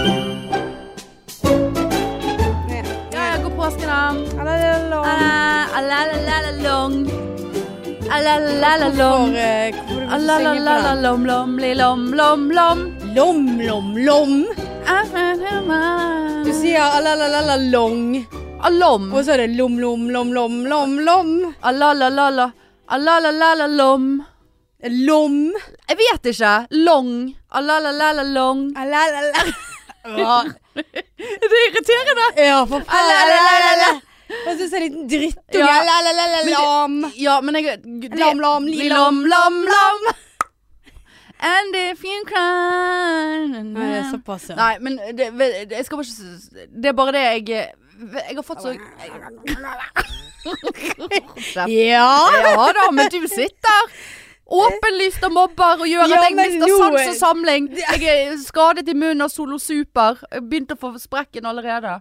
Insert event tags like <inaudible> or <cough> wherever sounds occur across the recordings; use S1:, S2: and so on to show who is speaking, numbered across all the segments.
S1: long. Alalalom.
S2: eh, Hvorfor, eh, hvorfor vil du synge på den?
S1: Alalalalom, lom, li, lom, lom, lom.
S2: Lom, lom, lom. Du sier alalalalong,
S1: Alom.
S2: og så er det lom, lom, lom, lom, lom, lom.
S1: Alalalala. Alalalalom.
S2: Lom.
S1: Jeg vet ikke. Long. Alalalalong.
S2: Alalala. Ja,
S1: <laughs> Det er
S2: <laughs>
S1: irriterende.
S2: ja, for faen. Alalalala. Og så er det en liten drittunge.
S1: Ja.
S2: Alalalalom.
S1: Ja, men jeg det-
S2: Lom, lom, li, lom.
S1: lom, lom.
S2: <laughs>
S1: And if you cry
S2: Nei, det er såpass, ja.
S1: Nei, men det, vet- jeg skal bare ikke s- Det er bare det jeg Jeg har fått så jeg,
S2: <laughs> Ja.
S1: Ja da, men du
S2: <laughs>
S1: sitter åpenlyst og mobber og gjør at
S2: Ja,
S1: jeg
S2: men
S1: mister
S2: nå-
S1: sans og samling. Jeg er skadet i munnen av Solo Super. Jeg Begynte å få sprekken allerede.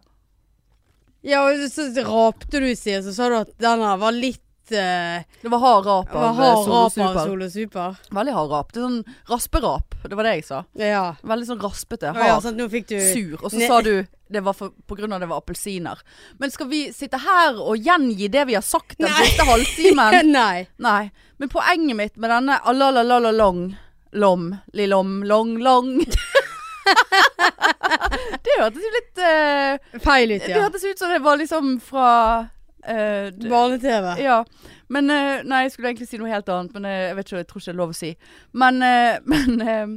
S2: ja, og så rapte du, sier, så sa du at den her var litt eh,
S1: Det var hard rap
S2: Var
S1: av eh,
S2: hard
S1: Solo
S2: rap av
S1: Super.
S2: Solo Super.
S1: Veldig hard rap. Det er sånn rasperap. Det var det jeg sa.
S2: Ja.
S1: Veldig sånn raspete.
S2: Å ja,
S1: Hard.
S2: sant, nå fikk du
S1: sur. Og så
S2: Ne-
S1: sa du det var for, på grunn av det var appelsiner. Men skal vi sitte her og gjengi det vi har sagt den
S2: Nei.
S1: siste
S2: <laughs>
S1: halvtimen?
S2: Nei.
S1: Nei. Men poenget mitt med denne alalalalong Lom, lilom, long, long <laughs> Det hørtes jo litt eh,
S2: Feil ut,
S1: Det
S2: ja.
S1: hørtes ut som det var liksom fra eh, d-
S2: Barne-TV.
S1: Ja. Men eh, Nei, jeg skulle egentlig si noe helt annet, men eh, jeg vet ikke, jeg tror ikke det er lov å si. Men, eh, <laughs> men eh,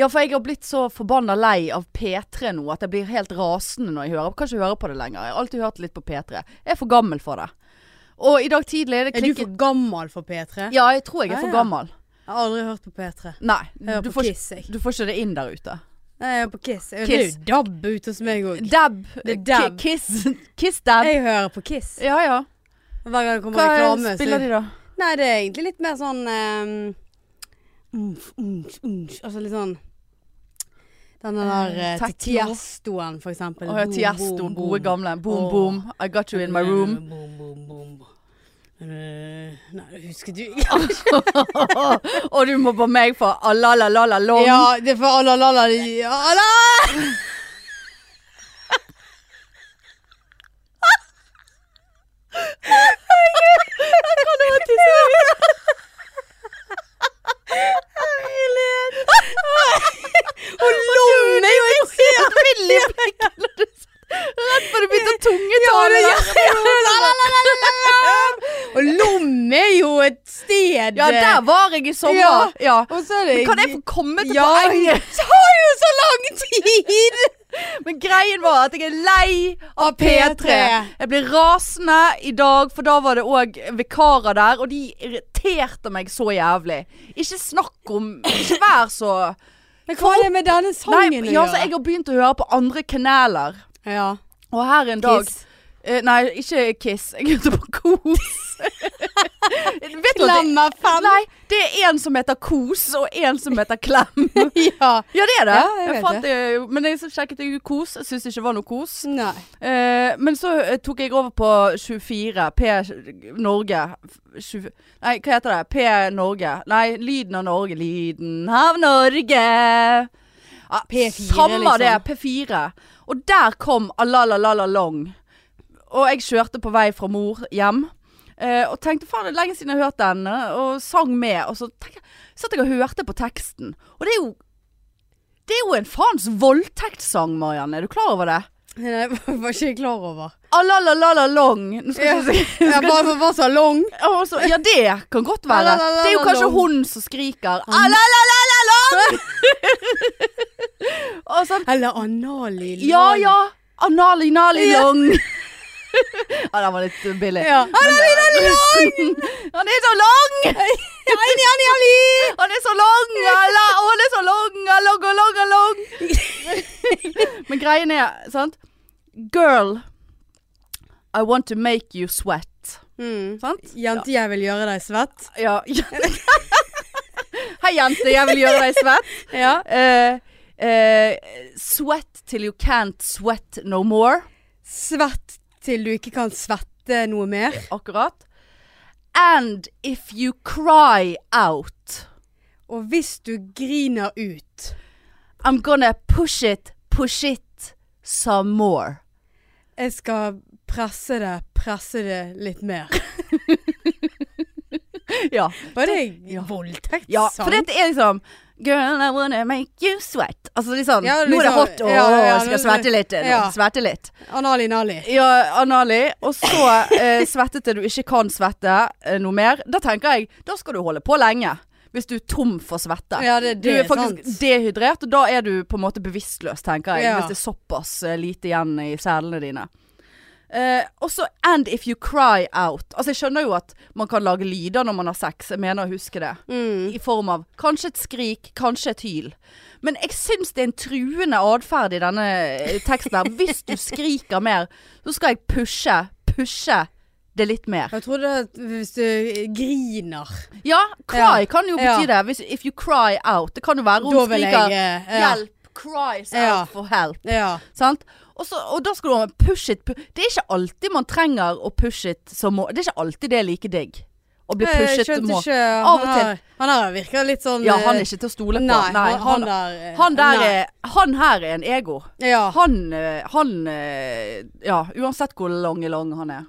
S1: Ja, for jeg har blitt så forbanna lei av P3 nå at jeg blir helt rasende når jeg hører Kan ikke høre på det lenger. Jeg har alltid hørt litt på P3. Jeg er for gammel for det. Og i dag tidlig er det
S2: Er du
S1: klikket
S2: for gammel for P3?
S1: Ja, jeg tror jeg er
S2: Ah,
S1: for
S2: ja.
S1: gammel.
S2: Jeg har aldri hørt på P3.
S1: Nei.
S2: Jeg
S1: Du
S2: hører på
S1: får,
S2: Kiss, jeg.
S1: ikke, du får ikke det inn der ute.
S2: Nei, jeg hører på Kiss. Jeg- Det er
S1: Kiss.
S2: jo DAB ute hos meg òg.
S1: Dab.
S2: Det er dab.
S1: Ki- Kiss. <laughs> Kiss dab.
S2: Jeg hører på Kiss.
S1: Ja ja.
S2: Hver gang det kommer
S1: Hva
S2: reklame.
S1: spiller
S2: Så...
S1: de da?
S2: Nei, det er egentlig litt mer sånn ehm, umf, umf, umf. Altså litt sånn Den der
S1: Eh,
S2: eh,
S1: techno.
S2: Tiestoen, for eksempel.
S1: Å ja,
S2: Boom,
S1: Tiesto.
S2: boom,
S1: Gode
S2: boom.
S1: gamle. Boom
S2: Åh.
S1: boom. I got you in my room.
S2: Boom, boom, boom. Eh, Nei, det husker du
S1: <laughs> Og du må på meg for alalalalong. <laughs>
S2: Ja, det er for alla, alla, alla.
S1: Og lom er jo en helt villig prikk. Rett før du begynte å tungetale.
S2: <laughs> Ja,
S1: der.
S2: <laughs> Og Lom er jo et sted
S1: Ja, der var jeg i sommer. Ja.
S2: Og så er det
S1: Kan jeg få komme til
S2: Ja, det
S1: <laughs> poenget?
S2: tar jo så lang tid!
S1: Men greien var at jeg er lei av P3. Jeg ble rasende i dag, for da var det òg vikarer der, og de irriterte meg så jævlig. Ikke snakk om Ikke vær så
S2: Men hva er det med denne
S1: Nei,
S2: sangen å
S1: ja, altså, jeg
S2: gjøre?
S1: har begynt å høre på andre kanaler.
S2: Ja.
S1: Og her en dag
S2: Kiss.
S1: Eh, nei, ikke Kiss. Jeg hørte på Kos.
S2: <laughs>
S1: Vet du at det,
S2: Klemmer fem.
S1: nei, det er en som heter Kos, og en som heter Klem.
S2: Ja.
S1: Ja, det er det.
S2: Ja, jeg vet
S1: fant, eh, men jeg så sjekket jeg ut Kos. Jeg syns det ikke var noe kos.
S2: Nei.
S1: Eh, men så eh, tok jeg over på 24, P Norge F- 20, Nei, hva heter det? P Norge. Nei, Lyden av Norge. Lyden av Norge. Ja,
S2: P4,
S1: Samme
S2: liksom.
S1: det, P4. Og der kom Alalalalong. Og jeg kjørte på vei fra mor hjem. eh, og tenkte faen, det er lenge siden jeg har hørt den, eh, og sang med. Og så tenk- satt jeg og hørte på teksten. Og det er jo Det er jo en faens voldtektssang, Marianne. Er du klar over det?
S2: Nei, <laughs> jeg var ikke klar over.
S1: Alalalalong. Nå skal
S2: Ja.
S1: jeg ikke si
S2: Jeg bare var så lang.
S1: Ja, og så- Ja, det kan godt være.
S2: Alalalalong.
S1: Det er jo kanskje hun som skriker Alalalalong! <laughs> og sånn
S2: Eller analil.
S1: Ja ja. Analinalilong. <laughs> ja, den var litt billig.
S2: ja.
S1: Han er så lang! Han er så lang! Ala, å, han er så lang! Along, along, along. Men greien er, sant Girl, I want to make you sweat.
S2: Mm.
S1: Sant?
S2: Jente, jeg vil gjøre deg svett.
S1: Ja. <laughs> Hei, jente. Jeg vil gjøre deg svett.
S2: Ja.
S1: Eh, eh, sweat till you can't sweat no more.
S2: Svett til du ikke kan svette noe mer.
S1: Akkurat. And if you cry out,
S2: Og hvis du griner ut,
S1: I'm gonna push it, push it some more.
S2: jeg skal presse det, presse det litt mer.
S1: Ja. <laughs>
S2: Var det voldtektssang?
S1: ja for dette er liksom Girl, I wanna make you sweat. Altså liksom,
S2: Ja,
S1: Nå er det
S2: liksom-
S1: hot og
S2: ja, ja, ja,
S1: skal
S2: nå-
S1: svette litt. nå,
S2: ja.
S1: Svette litt.
S2: Anali Nali.
S1: Ja, Anali. Og så eh, svettete du ikke kan svette eh, noe mer. Da tenker jeg, da skal du holde på lenge. Hvis du er tom for svette.
S2: Ja, det,
S1: Du
S2: det
S1: er
S2: er sant.
S1: faktisk dehydrert, og da er du på en måte bevisstløs, tenker jeg.
S2: Ja.
S1: Hvis det er såpass eh, lite igjen i selene dine. Eh, og så 'and if you cry out'. Altså Jeg skjønner jo at man kan lage lyder når man har sex. Jeg mener å huske det.
S2: Mm.
S1: I form av kanskje et skrik, kanskje et hyl. Men jeg syns det er en truende atferd i denne eh, teksten her. Hvis du skriker mer, så skal jeg pushe, pushe det litt mer.
S2: Jeg trodde at hvis du griner,
S1: Ja, cry kan jo bety
S2: Ja.
S1: det. Hvis, if you cry out. Det kan jo være
S2: da
S1: hun
S2: vil
S1: skriker
S2: jeg eh, ja.
S1: Hjelp, cries out
S2: Ja.
S1: for help.
S2: Ja.
S1: Sant? Og, så, og da skal du ha med push it. pu- Det er ikke alltid man trenger å push it som må Det er ikke alltid det er like digg. Å bli
S2: Nei, jeg
S1: pushet
S2: skjønte
S1: må
S2: ikke
S1: Av og
S2: han der- Han der virker litt sånn
S1: Ja, han er
S2: eh,
S1: ikke til å stole på.
S2: Nei, han, han
S1: han,
S2: der eh,
S1: han der
S2: nei.
S1: er Han her er en ego.
S2: Ja.
S1: Han eh, Han eh, Ja, uansett hvor lang i lang han er.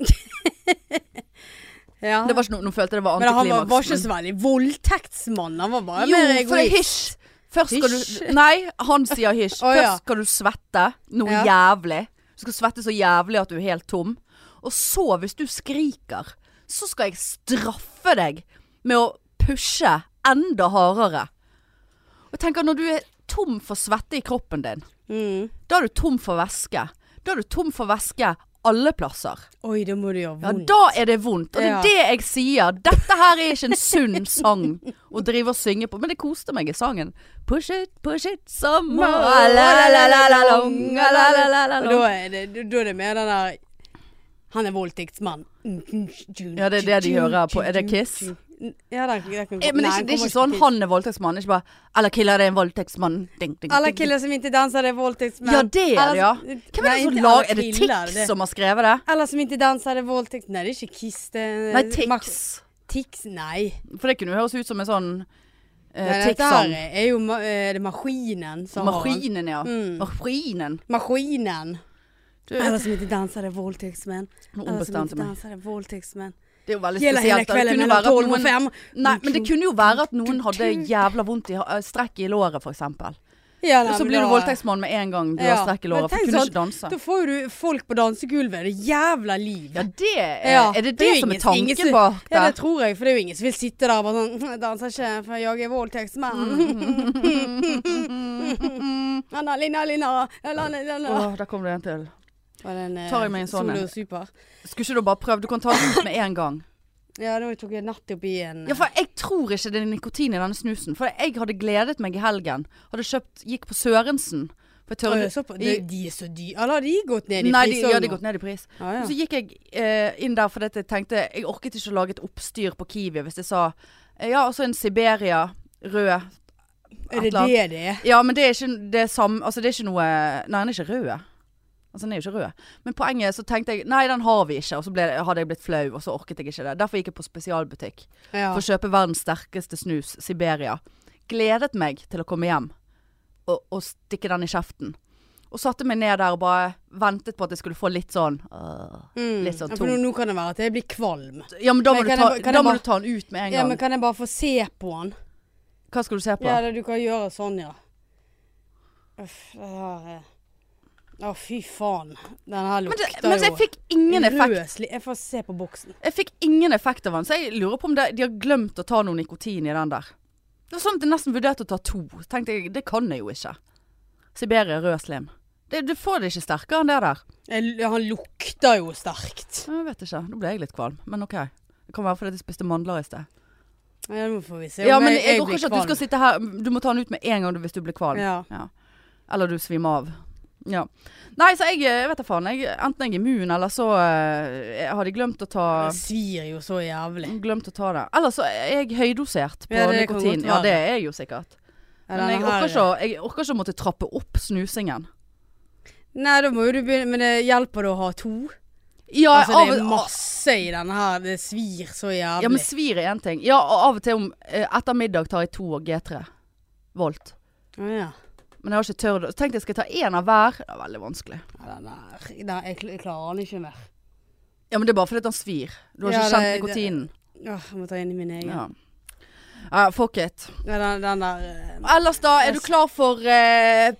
S2: ja.
S1: Det var ikke noe Nå følte jeg det var
S2: Men han var, var ikke
S1: antiklimaks.
S2: så veldig voldtektsmann. Han var bare
S1: Jo,
S2: mer
S1: for det er
S2: egoist.
S1: hysj. Først skal
S2: Hysj?
S1: du Nei, han sier hysj.
S2: Å, ja.
S1: Først skal du svette noe
S2: Ja.
S1: jævlig. Du skal svette så jævlig at du er helt tom. Og så, hvis du skriker, så skal jeg straffe deg med å pushe enda hardere. Og tenk at når du er tom for svette i kroppen din,
S2: Mm.
S1: da er du tom for væske. Da er du tom for væske alle plasser.
S2: Oi, da må det gjøre
S1: Ja,
S2: vondt.
S1: da er det vondt. Og det er
S2: Ja.
S1: det jeg sier. Dette her er ikke en sunn sang å drive og synge på. Men det koste meg i sangen. Push it, push it, summer la-la-la-la-long,
S2: Og da
S1: la-la-la-la-long.
S2: er det, da- da er det mer den der Han er voldtektsmann. Ja,
S1: Ja, det er det de hører på. Er det Kiss?
S2: Ja, den, den kan
S1: Eh, Men det er ikke,
S2: Nei,
S1: det er
S2: den
S1: ikke sånn
S2: kommer
S1: han er voldtektsmann. Det er Ikke bare 'Eller killer det er en voldtektsmann'. Ding, ding,
S2: til Kiss. Alle
S1: ding.
S2: killer som ikke danser, det er voldtektsmenn.
S1: Ja, det er
S2: Alle
S1: det, ja.
S2: som-
S1: Hvem er
S2: Nei,
S1: det som
S2: ikke
S1: lager
S2: alle
S1: Er det
S2: killer,
S1: Tix
S2: det-
S1: som har skrevet det?
S2: Alle som ikke danser, det er voldtekt... Nei, det er ikke Kiss. Det er
S1: Nei,
S2: Max-
S1: Tix.
S2: Tix, nei.
S1: For det kunne jo høres ut som en sånn
S2: nei
S1: eh,
S2: dette her
S1: Tix-sang.
S2: er jo ma eh, det er Maskinen som har den.
S1: Maskinen, ja.
S2: Mm.
S1: Maskinen.
S2: Maskinen.
S1: Du,
S2: Alle som ikke danser, det er voldtektsmenn.
S1: Nå
S2: Alle som
S1: Eh. ombestemte
S2: ikke
S1: jeg meg.
S2: danser, det er voldtektsmenn.
S1: Det er jo veldig
S2: Gjelder hele
S1: spesielt. da. Det
S2: kvelden
S1: kunne jo
S2: mellom
S1: være at
S2: 12 og
S1: noen-
S2: 5.
S1: Nei, men det kunne jo være at noen hadde jævla vondt i ha- eh, strekk i låret, for eksempel.
S2: Ja, nei,
S1: Og så
S2: men
S1: blir du
S2: da-
S1: voldtektsmann med en gang du har
S2: Ja,
S1: strekk i
S2: men
S1: låret, for
S2: tenk
S1: du kunne
S2: sånn,
S1: ikke danse.
S2: Da får jo du folk på dansegulvet. Det er jævla liv.
S1: Ja, det er,
S2: Ja,
S1: er det det,
S2: det er jo
S1: som er
S2: ingen-
S1: tanken
S2: ingen som-
S1: bak det?
S2: Ja, det tror jeg, for det er jo ingen som vil sitte der og bare sånn «Hm, Jeg danser ikke, for jeg er
S1: <laughs>
S2: voldtektsmann. Anna, Lina, Lina, la, la, la, la.
S1: Åh, der kom det en til.
S2: Var det en, eh,
S1: Tar jeg meg en sånn en?
S2: Solo Super?
S1: Skulle ikke du bare prøve? Du kan ta den ut med en gang.
S2: Ja, nå tok jeg nettopp i en
S1: Ja, for jeg tror ikke det er nikotin i denne snusen. For jeg hadde gledet meg i helgen. Hadde kjøpt Gikk på Sørensen. For jeg
S2: Oi,
S1: tørde
S2: såpass- de, de er så dyre. Eller har de gått ned i
S1: Nei, de,
S2: pris?
S1: ja, de gått ned i pris.
S2: Ja, ja.
S1: Så gikk jeg eh, inn der fordi at jeg tenkte Jeg orket ikke å lage et oppstyr på Kiwi hvis jeg sa eh, Ja, også en Siberia rød
S2: Er det
S1: et eller annet.
S2: det det er?
S1: Ja, men det er ikke det er samme Altså det er ikke noe Nei, den er ikke rød Altså den er jo ikke rød Men poenget er, så tenkte jeg Nei, den har vi ikke Og så ble, det- hadde jeg blitt flau Og så orket jeg ikke det Derfor gikk jeg på spesialbutikk
S2: Ja.
S1: For å kjøpe verdens sterkeste snus Siberia Gledet meg til å komme hjem Og, og stikke den i kjeften Og satte meg ned der og bare Ventet på at jeg skulle få litt sånn øh.
S2: Mm.
S1: litt sånn
S2: ja, for nå, nå kan det være at jeg blir kvalm.
S1: Ja, men da må,
S2: Men
S1: du
S2: kan
S1: ta,
S2: jeg ba- kan
S1: da må
S2: jeg bare-
S1: du ta den ut med en
S2: Ja,
S1: gang.
S2: men Kan jeg bare få se på den?
S1: Hva skal du se på?
S2: Ja, det, du kan gjøre sånn, ja. Uff, det her er Å, fy faen. Den her
S1: men, det,
S2: lukter
S1: men så jeg fikk ingen effekt.
S2: Røslig. Jeg får se på boksen.
S1: Jeg fikk ingen effekt av den, så jeg lurer på om det, de har glemt å ta noe nikotin i den der. Det var sånn at jeg nesten vurderte å ta to. Tenkte jeg, det kan jeg jo ikke. Siberia rød slim. Det, du får det ikke sterkere enn det der.
S2: Jeg, ja, han lukter jo sterkt.
S1: Jeg vet ikke. Nå ble jeg litt kvalm, men OK. Det kan være fordi jeg spiste mandler i sted.
S2: Ja, nå får vi se.
S1: Ja,
S2: om
S1: men jeg orker
S2: blir
S1: ikke at du skal
S2: kvalm.
S1: sitte her. Du må ta den ut med en gang du- hvis du blir kvalm.
S2: Ja.
S1: Eller du svimer av. Ja. Nei, så jeg, jeg vet da faen. Jeg, enten jeg er immun, eller så eh, jeg- har de glemt å ta
S2: Det svir jo så jævlig.
S1: Glemt å ta det. Eller så er jeg høydosert på
S2: Ja, det kan
S1: nikotin.
S2: godt
S1: Ja,
S2: være.
S1: det er jeg jo sikkert.
S2: Ja,
S1: Men
S2: denne
S1: jeg
S2: her-
S1: orker, ikke, å- jeg orker ikke å måtte trappe opp snusingen.
S2: Nei, da må jo du begynne Men det hjelper det å ha to?
S1: Ja,
S2: altså, det
S1: av- ah,
S2: er masse i denne her. Det svir så jævlig.
S1: ja men svir er én ting. Ja, og av og til om eh, etter middag tar jeg to og G3 volt.
S2: Å, ja.
S1: Men jeg har ikke tørt Tenk jeg skal ta én av hver. Det er veldig vanskelig.
S2: Ja, den der, den, jeg, kl- jeg klarer den ikke mer.
S1: Ja, men det er bare fordi at han svir. Du har
S2: Ja,
S1: ikke kjent
S2: det- det-
S1: nikotinen.
S2: Åh, jeg må ta inn i min egen. Ja.
S1: Ja. Ja, fuck it.
S2: den, den der eh,
S1: Ellers da, er du klar for eh,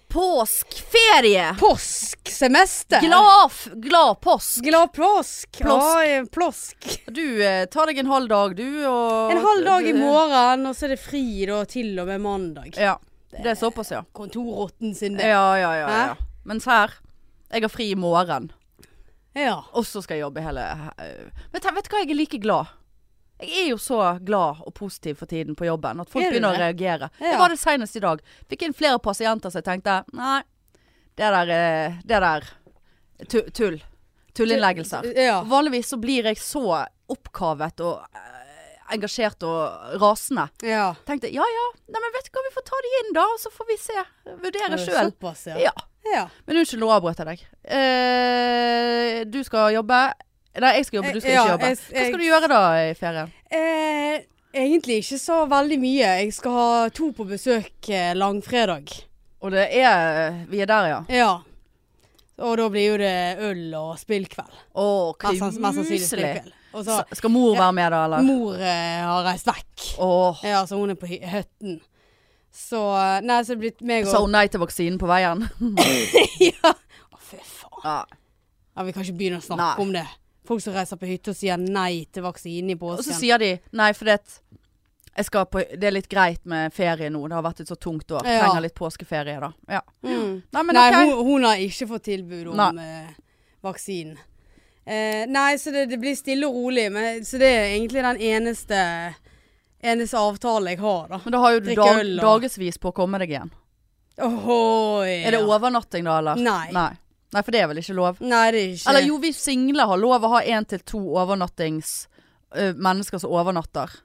S1: påskferie?
S2: Påsksemester!
S1: Glad, f- glad påsk.
S2: Glad plosk.
S1: Plosk.
S2: Oi, plosk.
S1: Du eh, tar deg en halv dag, du. Og,
S2: En halv dag i morgen, og så er det fri da til og med mandag.
S1: Ja. Det er såpass, ja.
S2: Kontorrotten sin, det.
S1: Ja, ja, ja.
S2: Hæ?
S1: ja. Mens her jeg har fri i morgen,
S2: Ja.
S1: og så skal jeg jobbe hele eh, Vet du vet du hva, jeg er like glad. Jeg er jo så glad og positiv for tiden på jobben at folk
S2: Er du
S1: begynner
S2: det?
S1: å reagere.
S2: Ja.
S1: Jeg var det senest i dag. Fikk inn flere pasienter som jeg tenkte nei, det der, eh, det der tu tull. Tullinnleggelser.
S2: Ja.
S1: Vanligvis så blir jeg så oppkavet og eh, engasjert og rasende.
S2: ja.
S1: Tenkte ja ja, nei, men vet du hva, vi får ta de inn da, og så får vi se. Vurdere sjøl.
S2: Såpass, ja.
S1: Ja.
S2: Ja.
S1: Men unnskyld, nå avbrøt jeg deg. Eh, du skal jobbe. Nei, jeg skal jobbe, du skal
S2: Eh, Ja,
S1: ikke jobbe.
S2: jeg-
S1: Hva skal du gjøre da i ferien?
S2: Eh, egentlig ikke så veldig mye. Jeg skal ha to på besøk eh, langfredag.
S1: Og det er Vi er der, ja.
S2: Ja. Og da blir jo det øl og spillkveld.
S1: Å,
S2: Mest sanns- mest sannsynlig
S1: kuselig.
S2: spillkveld. Og så
S1: S- Skal mor være med da, eller?
S2: mor eh, har reist vekk.
S1: Åh,
S2: Ja, så hun er på hy- hytten. Så Nei, så er det blitt meg
S1: Sa
S2: og
S1: hun nei til vaksinen på veien?
S2: <laughs> Ja. Å, fy faen.
S1: Ja.
S2: Ja, vi kan ikke begynne å
S1: Nei.
S2: snakke om det. Folk som reiser på hytte og sier nei til vaksine i
S1: Og så
S2: påsken.
S1: sier de nei, for det, jeg skal på, det er litt greit med ferie nå. Det har vært et så tungt år.
S2: Ja.
S1: Trenger litt påskeferie, da. Ja.
S2: Mm.
S1: Nei, men
S2: nei,
S1: ok.
S2: hun, hun har ikke fått tilbud om eh, vaksinen. Eh, nei, så det, det blir stille og rolig. Men, så det er egentlig den eneste, eneste avtalen jeg har, da.
S1: Men da har jo du
S2: Drikke
S1: dag,
S2: øl og-
S1: dagevis på å komme deg igjen.
S2: Ohoi,
S1: Er det
S2: ja.
S1: overnatting da, eller?
S2: Nei.
S1: nei. Nei, for det er vel ikke lov?
S2: Nei, det er ikke
S1: Eller jo, vi single har lov å ha én til to overnattings ø, mennesker som overnatter.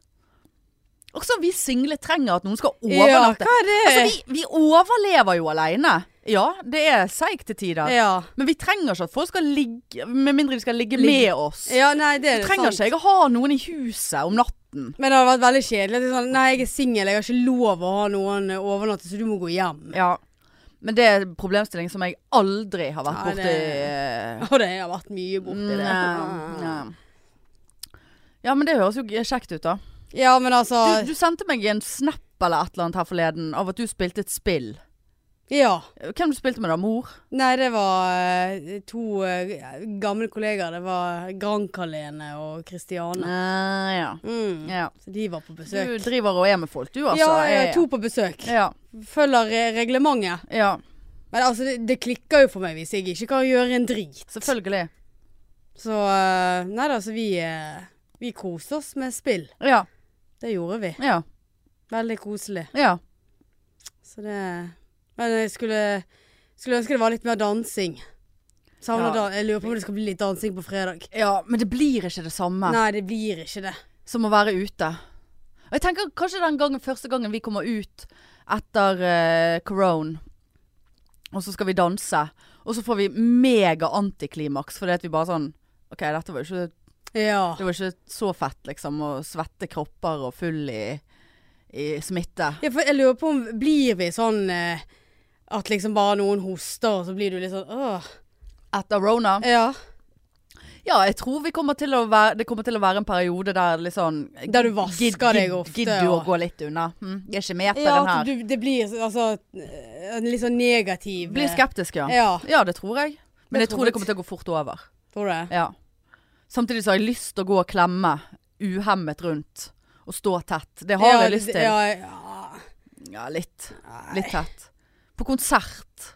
S1: Også vi single trenger at noen skal overnatte.
S2: Ja, Eh. hva er det?
S1: altså, vi, vi overlever jo aleine. Ja, det er seigt til tider.
S2: ja.
S1: Men vi trenger ikke at folk skal ligge Med mindre de skal ligge,
S2: Ligge.
S1: med oss.
S2: ja, nei, det er
S1: Vi
S2: det
S1: trenger
S2: sant.
S1: ikke jeg å ha noen i huset om natten.
S2: Men det hadde vært veldig kjedelig. at det er Sånn, nei, jeg er singel, jeg har ikke lov å ha noen eh, overnatte, så du må gå hjem. <laughs>
S1: Ja. Men det er en problemstilling som jeg aldri har vært
S2: Nei,
S1: borti.
S2: det-
S1: eh,
S2: Og det har vært mye borti det.
S1: Nei, nei. Ja, men det høres jo g- kjekt ut, da.
S2: Ja, men altså
S1: Du, du sendte meg en snap eller et eller annet her forleden av at du spilte et spill.
S2: Ja.
S1: Hvem du spilte med da? Mor?
S2: Nei, det var eh, to eh, gamle kollegaer. Det var Grankalene og Kristiane.
S1: Eh, ja.
S2: Mm.
S1: ja.
S2: Så de var på
S1: Du
S2: besøk.
S1: driver og er med folk, du altså.
S2: ja,
S1: Jeg-
S2: ja, to på besøk.
S1: Ja,
S2: Følger eh, reglementet.
S1: ja.
S2: Men altså, det, det klikker jo for meg hvis jeg ikke kan gjøre en drit.
S1: Selvfølgelig.
S2: Så eh, Nei da, så vi, eh, vi koste oss med spill.
S1: Ja,
S2: Det gjorde vi.
S1: ja,
S2: Veldig koselig.
S1: ja.
S2: Så det Men jeg skulle, skulle ønske det var litt mer dansing. Savner
S1: Ja.
S2: dan jeg lurer på om det skal bli litt dansing på fredag.
S1: Ja, men det blir ikke det samme
S2: Nei, det blir ikke det.
S1: som å være ute. Og jeg tenker kanskje den gangen, første gangen vi kommer ut etter eh, corona, og så skal vi danse, og så får vi mega antiklimaks fordi at vi bare sånn OK, dette var jo ikke
S2: Ja.
S1: Det var ikke så fett, liksom, å svette kropper og full i, i smitte.
S2: Ja, for jeg lurer på om Blir vi sånn eh, at liksom bare noen hoster, og så blir du litt sånn åh.
S1: Etter Rona?
S2: Ja.
S1: Ja, jeg tror vi kommer til å være, det kommer til å være en periode der litt sånn
S2: Der du vasker
S1: gidd-
S2: deg
S1: gidd-
S2: ofte,
S1: Gidder du å
S2: og-
S1: gå litt unna? Hm, jeg er ikke med etter
S2: ja
S1: den
S2: at
S1: her.
S2: du, det blir altså eh, en litt sånn negativ
S1: Blir skeptisk, ja.
S2: Ja.
S1: Ja, det tror jeg. Men
S2: Det
S1: jeg
S2: tror
S1: tror det
S2: jeg.
S1: kommer til å gå fort over.
S2: Tror du det?
S1: Ja. Samtidig så har jeg lyst til å gå og klemme uhemmet rundt. Og stå tett. Det har
S2: Ja,
S1: jeg lyst
S2: det-
S1: til.
S2: Ja, ja.
S1: Ja, litt. Litt tett. På konsert.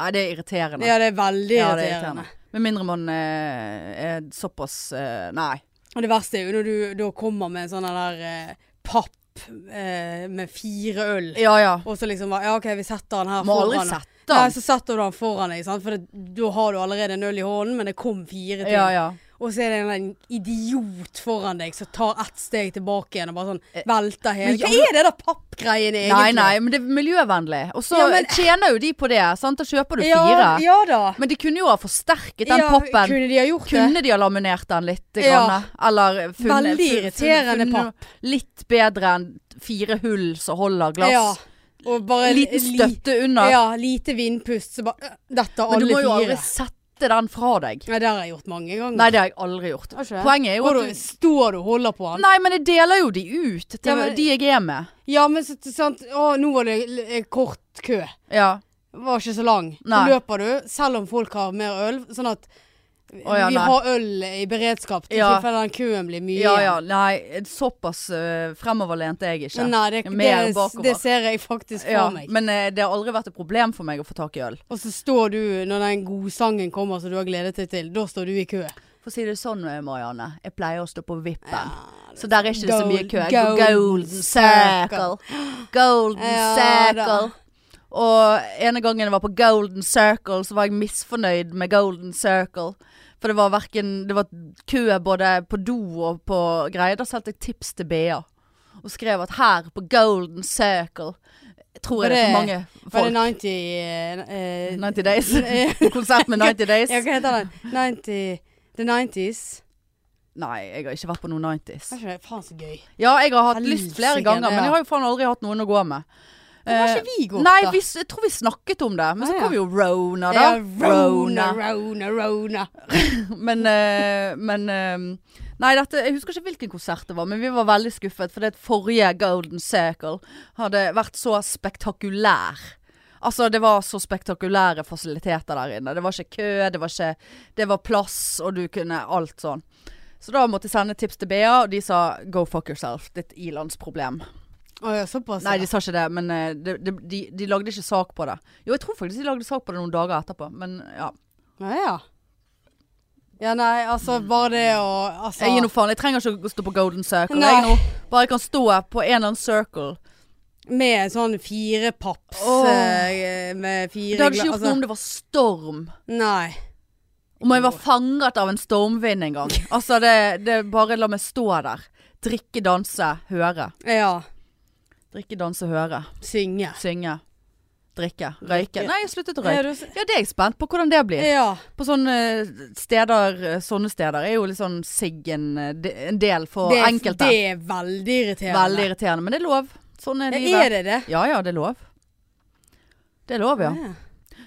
S1: Nei, det er irriterende.
S2: ja, det er veldig
S1: Ja, det er
S2: irriterende.
S1: irriterende. Med mindre man eh, er såpass eh, Nei.
S2: Og det verste er jo når du da kommer med en sånn der eh, papp eh, med fire øl,
S1: Ja ja.
S2: og så liksom bare Ja, OK, vi setter den her
S1: Må aldri
S2: foran.
S1: sette
S2: Nei,
S1: den.
S2: så setter du den foran deg, sant? for det, da har du allerede en øl i hånden, men det kom fire til.
S1: Ja ja.
S2: Og så er det en eller annen idiot foran deg som tar ett steg tilbake igjen og bare sånn velter hele
S1: Eh, men ja,
S2: Hva er det der pappgreiene egentlig?
S1: Nei nei, men det er miljøvennlig. Og så
S2: Ja, men-
S1: tjener jo de på det. Sant? Da kjøper du
S2: Ja,
S1: fire.
S2: ja da.
S1: Men de kunne jo ha forsterket den
S2: ja,
S1: pappen.
S2: Kunne de ha gjort det?
S1: Kunne de ha laminert den litt?
S2: Ja.
S1: Grann, eller funnet,
S2: Veldig
S1: fun-
S2: irriterende
S1: funnet
S2: papp.
S1: Litt bedre enn fire hull som holder glass.
S2: Ja. Og bare
S1: Liten
S2: li-
S1: støtte under.
S2: Ja, lite vindpust, så bare øh, Dette er
S1: Men du
S2: alle
S1: må jo
S2: fire.
S1: aldri sette miste den fra deg.
S2: Nei, det har jeg gjort mange ganger.
S1: Nei, det har jeg aldri gjort.
S2: Har ikke det?
S1: Poenget er jo
S2: Hvor
S1: at
S2: du
S1: du
S2: står og holder på han.
S1: Nei, men jeg deler jo de ut til
S2: Ja, men-
S1: de jeg er med.
S2: Ja, men så, sant Å, nå var det l- eh, kort kø.
S1: Ja.
S2: Var ikke så lang. Så
S1: Nei.
S2: løper du, selv om folk har mer øl. Sånn at
S1: ja,
S2: vi
S1: nei.
S2: har øl i beredskap til
S1: Ja.
S2: tilfelle den køen blir mye.
S1: ja
S2: igjen.
S1: ja. Nei, såpass eh, fremoverlent er jeg ikke.
S2: Men Nei, det,
S1: Mer
S2: det,
S1: bakover.
S2: det ser jeg faktisk for
S1: ja,
S2: meg.
S1: men eh, det har aldri vært et problem for meg å få tak i øl.
S2: Og så står du, når den godsangen kommer som du har gledet deg til, da står du i kø.
S1: For å si det sånn, eh, Marianne. Jeg pleier å stå på vippen.
S2: Ja.
S1: Så der er ikke det så mye
S2: Gold-
S1: kø. Jeg går Golden Circle. Golden
S2: Ja,
S1: Circle. Og ene gangen jeg var på Golden Circle, så var jeg misfornøyd med Golden Circle. For det var hverken Det var kø både på do og på greier. Da sendte jeg tips til BA. Og skrev at her, på Golden Circle Tror
S2: Var
S1: jeg det er for
S2: det-
S1: mange
S2: Var det
S1: folk.
S2: 90 eh, eh,
S1: 90 Days.
S2: <laughs> eh,
S1: Konsert med 90 Days.
S2: <laughs> Ja, hva heter den? 90 The 90s?
S1: Nei, jeg har ikke vært på noen 90s.
S2: Var ikke det faen så gøy?
S1: Ja, jeg har hatt
S2: Helsike,
S1: lyst flere ganger, men
S2: ja.
S1: jeg har jo faen aldri hatt noen å gå med.
S2: Hvorfor har
S1: Eh,
S2: ikke vi gått,
S1: Nei,
S2: da?
S1: vi, s- jeg tror vi snakket om det, men
S2: Ah,
S1: så
S2: ja.
S1: kom jo Rona, da.
S2: Ja, Rona, Rona, Rona.
S1: Men, eh, men eh, Nei, dette, jeg husker ikke hvilken konsert det var, men vi var veldig skuffet. For det forrige Golden Circle hadde vært så spektakulær. Altså, det var så spektakulære fasiliteter der inne. Det var ikke kø, det var, ikke, det var plass, og du kunne alt sånn. Så da måtte jeg sende tips til BA, og de sa 'go fuck yourself'. Det er et ilandsproblem.
S2: Å ja, såpass.
S1: Nei,
S2: ja.
S1: de sa ikke det, men eh, de, de, de, de lagde ikke sak på det. Jo, jeg tror faktisk de lagde sak på det noen dager etterpå, men ja.
S2: ja, ja. Ja, nei, altså bare det å altså,
S1: Jeg gir noe faen. Jeg trenger ikke å stå på Golden Circle.
S2: Nei.
S1: Jeg nå bare jeg kan stå på en eller annen circle.
S2: Med en sånn firepaps
S1: Åh.
S2: eh, med fire
S1: Det hadde ikke
S2: gla- altså,
S1: gjort noe om det var storm.
S2: Nei.
S1: Om jeg var fanget av en stormvind en gang. Altså, det, det er bare la meg stå der. Drikke, danse, høre.
S2: Ja.
S1: Drikke, danse, høre.
S2: Synge.
S1: Synge. Drikke. Røyke.
S2: Drikke.
S1: Nei, jeg sluttet å
S2: Ja,
S1: røyke.
S2: du s-
S1: Ja, det er jeg spent på hvordan det blir.
S2: Ja.
S1: På sånne eh, steder, eh, sånne steder er jo litt sånn sigg en, eh, de- en del for
S2: Det, er-
S1: enkelte.
S2: det er veldig irriterende.
S1: Veldig irriterende, men det er lov. Sånn er livet.
S2: Ja, er det det?
S1: Ja ja, det er lov. Det er lov, ja.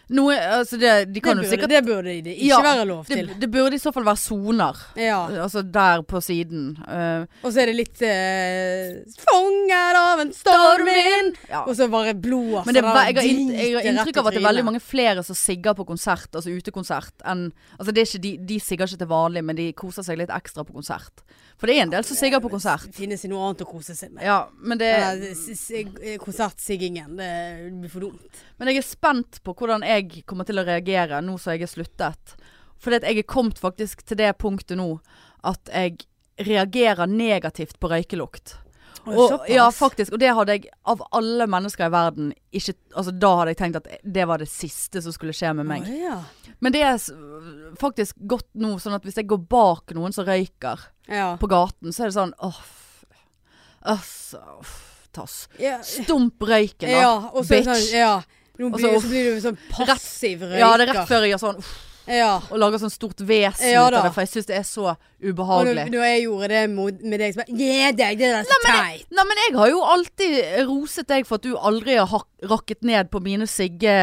S1: Noe, altså det, de
S2: Det,
S1: kan jo
S2: burde,
S1: sikkert
S2: det burde det ikke
S1: Ja,
S2: være lov til.
S1: det, det burde i så fall være soner.
S2: Ja.
S1: Altså der på siden. Eh,
S2: Og så er det litt eh, Fanget av en stormvind!
S1: ja.
S2: Og så bare altså, blodet
S1: Men det, er ve- jeg, har inn, jeg har inntrykk av at det er veldig mange flere som sigger på konsert, altså utekonsert, enn Altså det er ikke de, de sigger ikke til vanlig, men de koser seg litt ekstra på konsert. For det er en del som sigger på konsert.
S2: Det finnes jo noe annet å kose seg med.
S1: Ja, men det
S2: Eller s- s- Konsertsiggingen. Det blir for dumt.
S1: Men jeg er spent på hvordan jeg kommer til å reagere nå som jeg er sluttet. Fordi at jeg er kommet faktisk til det punktet nå at jeg reagerer negativt på røykelukt. Og,
S2: såpass.
S1: ja, faktisk. Og det hadde jeg av alle mennesker i verden ikke Altså da hadde jeg tenkt at det var det siste som skulle skje med meg.
S2: Å, ja.
S1: Men det er s- faktisk godt nå, sånn at hvis jeg går bak noen som røyker
S2: Ja.
S1: på gaten, så er det sånn åh, f- altså, f- tass.
S2: ja.
S1: Stump røyken, da.
S2: ja. Og så er det sånn
S1: bitch.
S2: Ja. Nå
S1: Og så-
S2: blir, så blir du sånn passiv røyker.
S1: Ja, det er rett før jeg gjør sånn
S2: Ja.
S1: og lager sånn stort vesen
S2: Ja
S1: ut
S2: da.
S1: av det, for jeg syns det er så
S2: Og når,
S1: ubehagelig.
S2: når jeg gjorde det mot, med deg, så bare Gi deg, det der er så teit!
S1: Nei, men jeg har jo alltid roset deg for at du aldri har hak- rakket ned på mine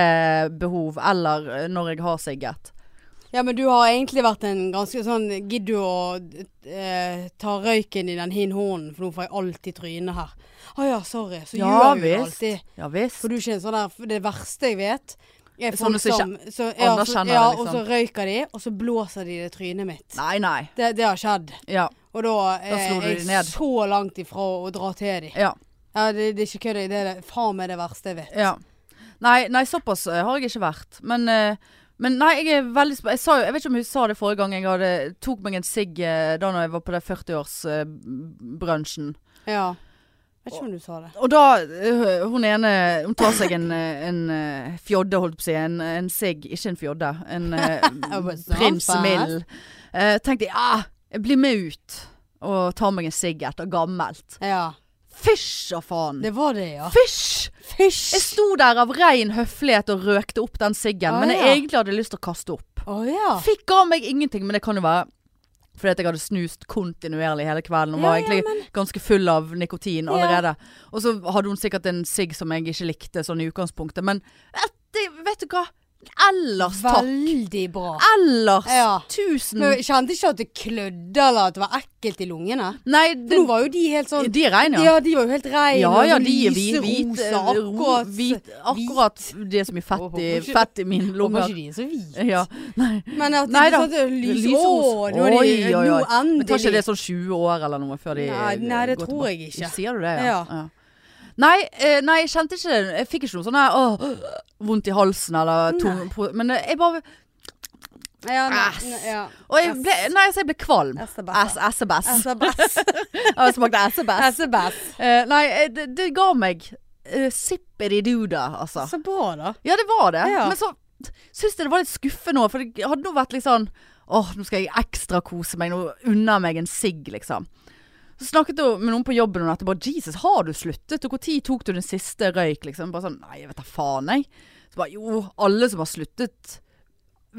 S1: siggebehov, eller eh, når jeg har sigget.
S2: Ja, men du har egentlig vært en ganske sånn Gidd du å eh, ta røyken i den hin hånden, for nå får jeg alltid trynet her. Å ja, sorry. Så
S1: Ja,
S2: gjør vi det
S1: visst.
S2: alltid.
S1: Ja visst.
S2: For du er ikke en sånn der for Det verste jeg vet, er
S1: Sånne
S2: folk
S1: som
S2: som så, ja, så,
S1: anerkjenner det,
S2: ja,
S1: liksom.
S2: Og så røyker de, og så blåser de det trynet mitt.
S1: Nei, nei.
S2: Det, det har skjedd.
S1: Ja.
S2: Og da, eh,
S1: slo du
S2: er
S1: de ned.
S2: jeg så langt ifra å dra til dem.
S1: Ja.
S2: Ja, det, det er ikke kødd. Det er det, faen meg det verste jeg vet.
S1: ja. Nei, nei, såpass eh, har jeg ikke vært. Men, eh, men nei, jeg er veldig sp- jeg, sa jo, jeg vet ikke om jeg sa det forrige gang jeg hadde, tok meg en sigg eh, da når jeg var på eh, den 40-årsbrunsjen.
S2: Ja. Jeg vet ikke om du sa det.
S1: Og da, øh, hun ene, hun tar seg en, øh, en øh, fjodde, holdt på å si, en, eh, en sigg, ikke en fjodde, en
S2: <laughs>
S1: øh,
S2: was not
S1: prins
S2: bad.
S1: mild. Eh, tenkte jeg, ah, jeg blir med ut og tar meg en sigg etter gammelt.
S2: Ja.
S1: Fysj, og faen!
S2: Det var det, ja.
S1: Fysj!
S2: Fysj!
S1: Jeg sto der av rein høflighet og røkte opp den siggen,
S2: Ah,
S1: men jeg
S2: ja.
S1: egentlig hadde lyst til å kaste opp.
S2: Å ja.
S1: Fikk av meg ingenting, men det kan jo være fordi at jeg hadde snust kontinuerlig hele kvelden og
S2: Ja,
S1: var
S2: ja,
S1: egentlig ganske full av nikotin allerede. Og så hadde hun sikkert en sigg som jeg ikke likte sånn i utgangspunktet, men eh, det, vet du hva? Ellers takk.
S2: Veldig bra.
S1: Ellers
S2: Ja.
S1: tusen
S2: Men jeg kjente ikke at det klødde eller at det var ekkelt i lungene.
S1: Nei,
S2: For
S1: det,
S2: nå var jo de helt sånn
S1: de regner.
S2: Ja, de var jo helt reine.
S1: Ja,
S2: og
S1: ja,
S2: sånn
S1: de er hvite.
S2: lyserosa,
S1: Akkurat, hvit, akkurat det er så mye fett i,
S2: Håper ikke-
S1: fett i min
S2: Håper
S1: lunge.
S2: ikke de er så hvite.
S1: Ja. Nei.
S2: <laughs> Men at
S1: Nei
S2: de
S1: da.
S2: sånn lyserosa
S1: Lyserosa.
S2: Nå er de
S1: Oi, oi, oi.
S2: Nå endelig.
S1: Men tar ikke det sånn 20 år eller noe før de
S2: Nei, nei, det
S1: går
S2: tror jeg ikke.
S1: Sier du det, ja?
S2: Ja.
S1: ja. Nei, eh, nei, jeg kjente ikke det. Jeg fikk ikke noe sånn her åh, vondt i halsen eller tung pro- Men eh, jeg bare
S2: Ja, nei,
S1: Ass.
S2: nei, ja.
S1: Og jeg ble, nei, så jeg ble kvalm.
S2: Essebæsj.
S1: Essebæsj. <laughs>
S2: <laughs> Essebæsj.
S1: Jeg smakte
S2: E
S1: essebæsj.
S2: Essebæsj.
S1: <laughs> Eh, nei, eh, det, det ga meg uh, sippedi-duda, altså.
S2: Så bra, da.
S1: Ja, det var det.
S2: Ja.
S1: Men så syns jeg det var litt skuffende òg, for det hadde nå vært litt sånn Åh, nå skal jeg ekstra kose meg. Nå unner jeg meg en sigg, liksom. Så snakket jeg med noen på jobben om dette. Bare Jesus, har du sluttet? Og når tok du den siste røyk, liksom? Bare sånn Nei, jeg vet da faen, jeg. Så bare Jo, alle som har sluttet,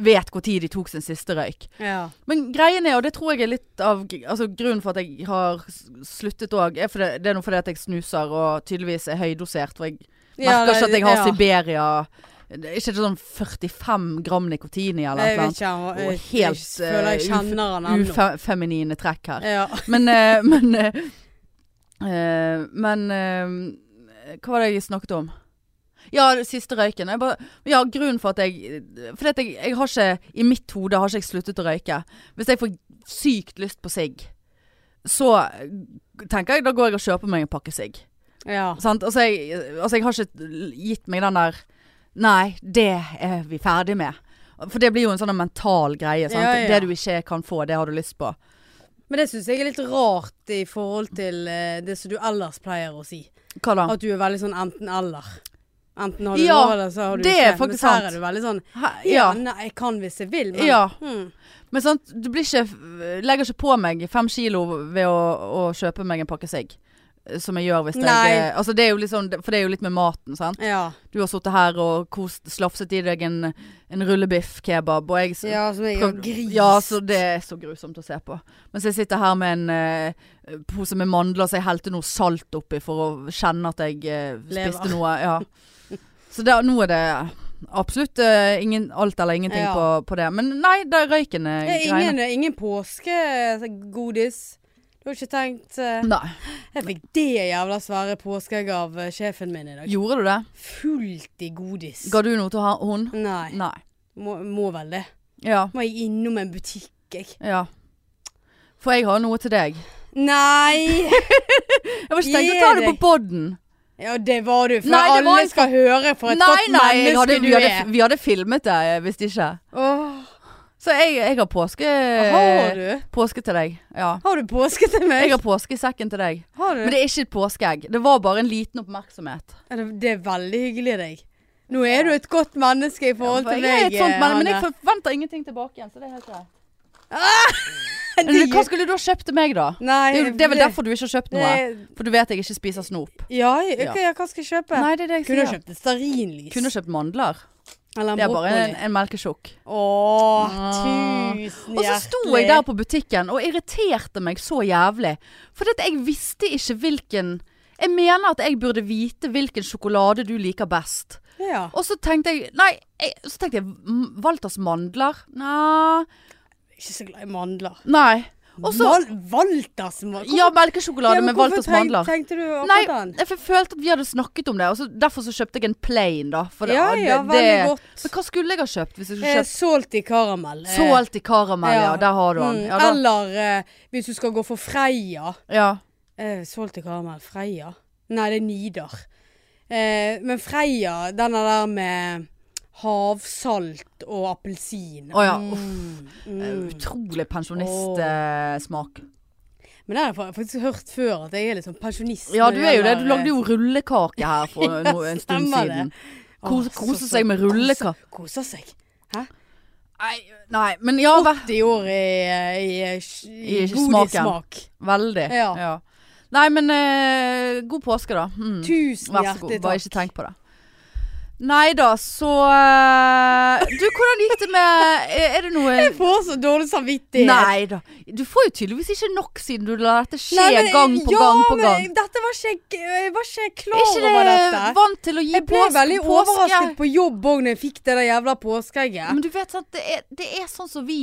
S1: vet når de tok sin siste røyk.
S2: Ja.
S1: Men greien er, og det tror jeg er litt av altså, grunnen for at jeg har s- sluttet òg, er fordi det er noe fordi at jeg snuser og tydeligvis er høydosert. For jeg merker ikke at jeg har Siberia det er Ikke sånn 45 gram nikotin i eller
S2: Jeg
S1: noe
S2: vet
S1: sånt.
S2: ikke, han var-
S1: Og
S2: jeg
S1: helt,
S2: jeg føler jeg
S1: eh,
S2: kjenner han ennå.
S1: Ufeminine trekk her.
S2: Ja.
S1: Men eh, <laughs> Men eh, eh, Men eh, Hva var det jeg snakket om? Ja, det siste røyken. Jeg bare, ja, grunnen for at jeg Fordi at jeg, jeg har ikke I mitt hode har ikke jeg sluttet å røyke. Hvis jeg får sykt lyst på sigg, så tenker jeg da går jeg og kjøper meg en pakke sigg.
S2: ja.
S1: Sant? Altså, jeg, altså, jeg har ikke gitt meg den der Nei, det er vi ferdig med. For det blir jo en sånn mental greie. Sant?
S2: Ja, ja.
S1: Det du ikke kan få, det har du lyst på.
S2: Men det syns jeg er litt rart i forhold til eh, det som du ellers pleier å si.
S1: Hva da?
S2: At du er veldig sånn enten-eller. Enten har du
S1: Ja,
S2: noe, eller så har du
S1: det
S2: ikke.
S1: er faktisk
S2: men
S1: sant.
S2: her er du veldig sånn
S1: Hæ?
S2: Ja,
S1: Ja.
S2: nei, jeg kan hvis jeg vil, men
S1: Ja.
S2: hmm.
S1: Men sant, du blir ikke Legger ikke på meg fem kilo ved å, å kjøpe meg en pakke sigg. eh, Som jeg gjør hvis
S2: Nei.
S1: jeg altså det er jo litt sånn, For det er jo litt med maten, sant.
S2: ja.
S1: Du har sittet her og kost, slafset i deg en, en rullebiff-kebab, og jeg s-
S2: ja, som jeg
S1: prøvd-
S2: er gris.
S1: Ja, så det er så grusomt å se på. Mens jeg sitter her med en eh, pose med mandler så jeg helte noe salt oppi for å kjenne at jeg eh,
S2: Lever.
S1: spiste noe. Ja. <laughs> Så da, nå er det absolutt eh, ingen, alt eller ingenting
S2: Ja.
S1: på, på det. Men nei, det er røyken eh,
S2: Det er
S1: greiene.
S2: ingen, ingen påskegodis. Du har ikke tenkt eh,
S1: Nei.
S2: Jeg fikk det jævla svære påskeegget av eh, sjefen min i dag.
S1: Gjorde du det?
S2: Fullt i godis.
S1: Ga du Mm. noe til ha- hun?
S2: Nei.
S1: Nei.
S2: Må, må vel det.
S1: Ja.
S2: Må jeg innom en butikk, jeg.
S1: ja. For jeg har noe til deg. <laughs>
S2: Nei!
S1: Jeg var ikke tenkt
S2: Gi
S1: å ta det
S2: deg.
S1: på podden.
S2: Ja, det var du. For
S1: Nei, det var
S2: alle
S1: jeg
S2: skal høre for et
S1: Nei,
S2: godt
S1: nei, jeg
S2: menneske
S1: hadde,
S2: du
S1: vi, hadde,
S2: er.
S1: vi hadde filmet det eh, hvis ikke.
S2: Åh,
S1: Så jeg, jeg har påske...
S2: har du?
S1: Påske til deg, ja.
S2: Har du påske til meg?
S1: Eh, Jeg har påske i sekken til deg.
S2: Har du?
S1: Men
S2: Det,
S1: det er ikke et påskeegg. Det var bare en liten oppmerksomhet.
S2: Ja, det- det er veldig hyggelig av deg. Nå er du et godt menneske i forhold
S1: For
S2: til
S1: jeg er
S2: meg.
S1: et sånt, men, men
S2: Hanne.
S1: jeg forventer ingenting tilbake igjen, så det er helt
S2: <laughs>
S1: greit.
S2: Det
S1: Men Hva
S2: gir-
S1: skulle du ha kjøpt til meg, da?
S2: Nei,
S1: Det er, jo- det er vel
S2: det-
S1: derfor du ikke har kjøpt noe?
S2: det-
S1: For du vet jeg ikke spiser snop.
S2: Ja, jeg-
S1: Ja.
S2: ok, ja, hva skal jeg kjøpe?
S1: Nei, det er det jeg
S2: Kunne
S1: sier.
S2: du kjøpt et stearinlys?
S1: Kunne kjøpt mandler.
S2: Eller en
S1: Det er bare en,
S2: brokkoli?
S1: en melkesjokk.
S2: Åh,
S1: Ah.
S2: tusen hjertelig.
S1: Og så sto jeg der på butikken og irriterte meg så jævlig. For at jeg visste ikke hvilken Jeg mener at jeg burde vite hvilken sjokolade du liker best.
S2: Ja.
S1: Og så tenkte jeg Nei, jeg, så tenkte jeg m- Walters mandler. Nei.
S2: Ikke så glad i mandler.
S1: Nei. Og så
S2: Val Walters mandler?
S1: Ja, melkesjokolade med Walters mandler.
S2: tenkte du
S1: Nei,
S2: akkurat den?
S1: jeg følte at vi hadde snakket om det, og så, derfor så kjøpte jeg en plain, da. For det,
S2: Ja, ja,
S1: det-
S2: veldig
S1: det-
S2: godt.
S1: Men hva skulle jeg ha kjøpt hvis jeg skulle
S2: Eh,
S1: kjøpt
S2: Salt i karamell. eh,
S1: Salt i karamell, ja.
S2: ja.
S1: Der har du den.
S2: mm,
S1: Ja, da,
S2: Eller eh, hvis du skal gå for Freia.
S1: ja.
S2: Eh, Salt i karamell. Freia? Nei, det er Nidar. Eh, men Freia, denne der med havsalt og appelsin.
S1: Å ja,
S2: Mm, mm.
S1: Utrolig eh, pensjonistsmak.
S2: Men det har jeg fa- faktisk hørt før, at jeg er litt sånn pensjonist.
S1: Ja,
S2: når
S1: du er jo det.
S2: gjelder,
S1: Du lagde jo rullekake her
S2: <laughs>
S1: for no, en stund
S2: stemmer det.
S1: siden.
S2: eh,
S1: Kose,
S2: å, så-
S1: kose
S2: så-
S1: seg med rullekake.
S2: Koser koser seg.
S1: Nei, nei, men ja, vær
S2: 80 år i, i, i,
S1: I
S2: i
S1: smaken.
S2: godissmak.
S1: Veldig.
S2: Ja.
S1: Nei, men eh, god påske, da. Mm.
S2: Tusen
S1: Vær så god.
S2: hjertelig
S1: Bare
S2: takk.
S1: ikke tenk på det. Nei da, så eh, Du, hvordan gikk det med Er, er det noe
S2: Jeg får så dårlig samvittighet.
S1: Nei da. Du får jo tydeligvis ikke nok siden du lar dette skje
S2: Nei, men-
S1: gang på
S2: ja,
S1: gang på
S2: men
S1: gang.
S2: Dette var ikke, jeg var ikke klar
S1: Er ikke
S2: over
S1: det
S2: dette.
S1: vant til å gi
S2: Jeg ble
S1: pås-
S2: veldig
S1: påske?
S2: overrasket på jobb òg når jeg fikk det der jævla påskeegget.
S1: Men du vet sant, det er, det er sånn som vi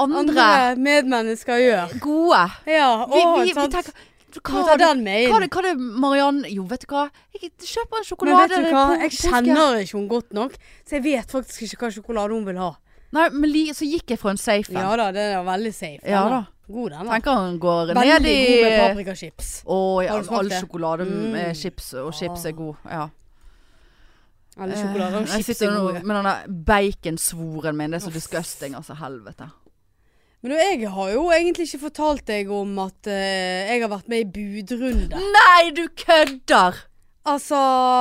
S1: andre,
S2: Andre medmennesker gjør.
S1: gode
S2: Ja,
S1: Vi,
S2: å,
S1: vi, vi
S2: sant.
S1: tenker
S2: Du
S1: hva
S2: må ta
S1: har du
S2: den med
S1: Hva er
S2: inn.
S1: det, hva er det Marianne Jo, vet du hva? Jeg kjøper en
S2: Men
S1: sjokolade.
S2: vet du
S1: det er
S2: hva,
S1: på-
S2: jeg
S1: påske.
S2: kjenner ikke hun godt nok, så jeg vet faktisk ikke hva sjokolade hun vil ha.
S1: Nei, men li, så gikk jeg fra en safe en.
S2: Ja da, det er veldig safe.
S1: Ja
S2: den
S1: da.
S2: God den, da.
S1: Tenker han går ned
S2: Veldig god med
S1: i eh,
S2: paprikachips.
S1: Å ja,
S2: Har du smakt
S1: all
S2: det?
S1: sjokolade
S2: Mm.
S1: med chips, og chips er god. Ja.
S2: Eller sjokolade
S1: Eh,
S2: og
S1: jeg
S2: chips
S1: sitter
S2: er
S1: nå
S2: gode.
S1: med denne baconsvoren min, det er så disgusting, altså. Helvete.
S2: Men du, jeg har jo egentlig ikke fortalt deg om at eh, jeg har vært med i budrunde.
S1: Nei, du kødder!
S2: Altså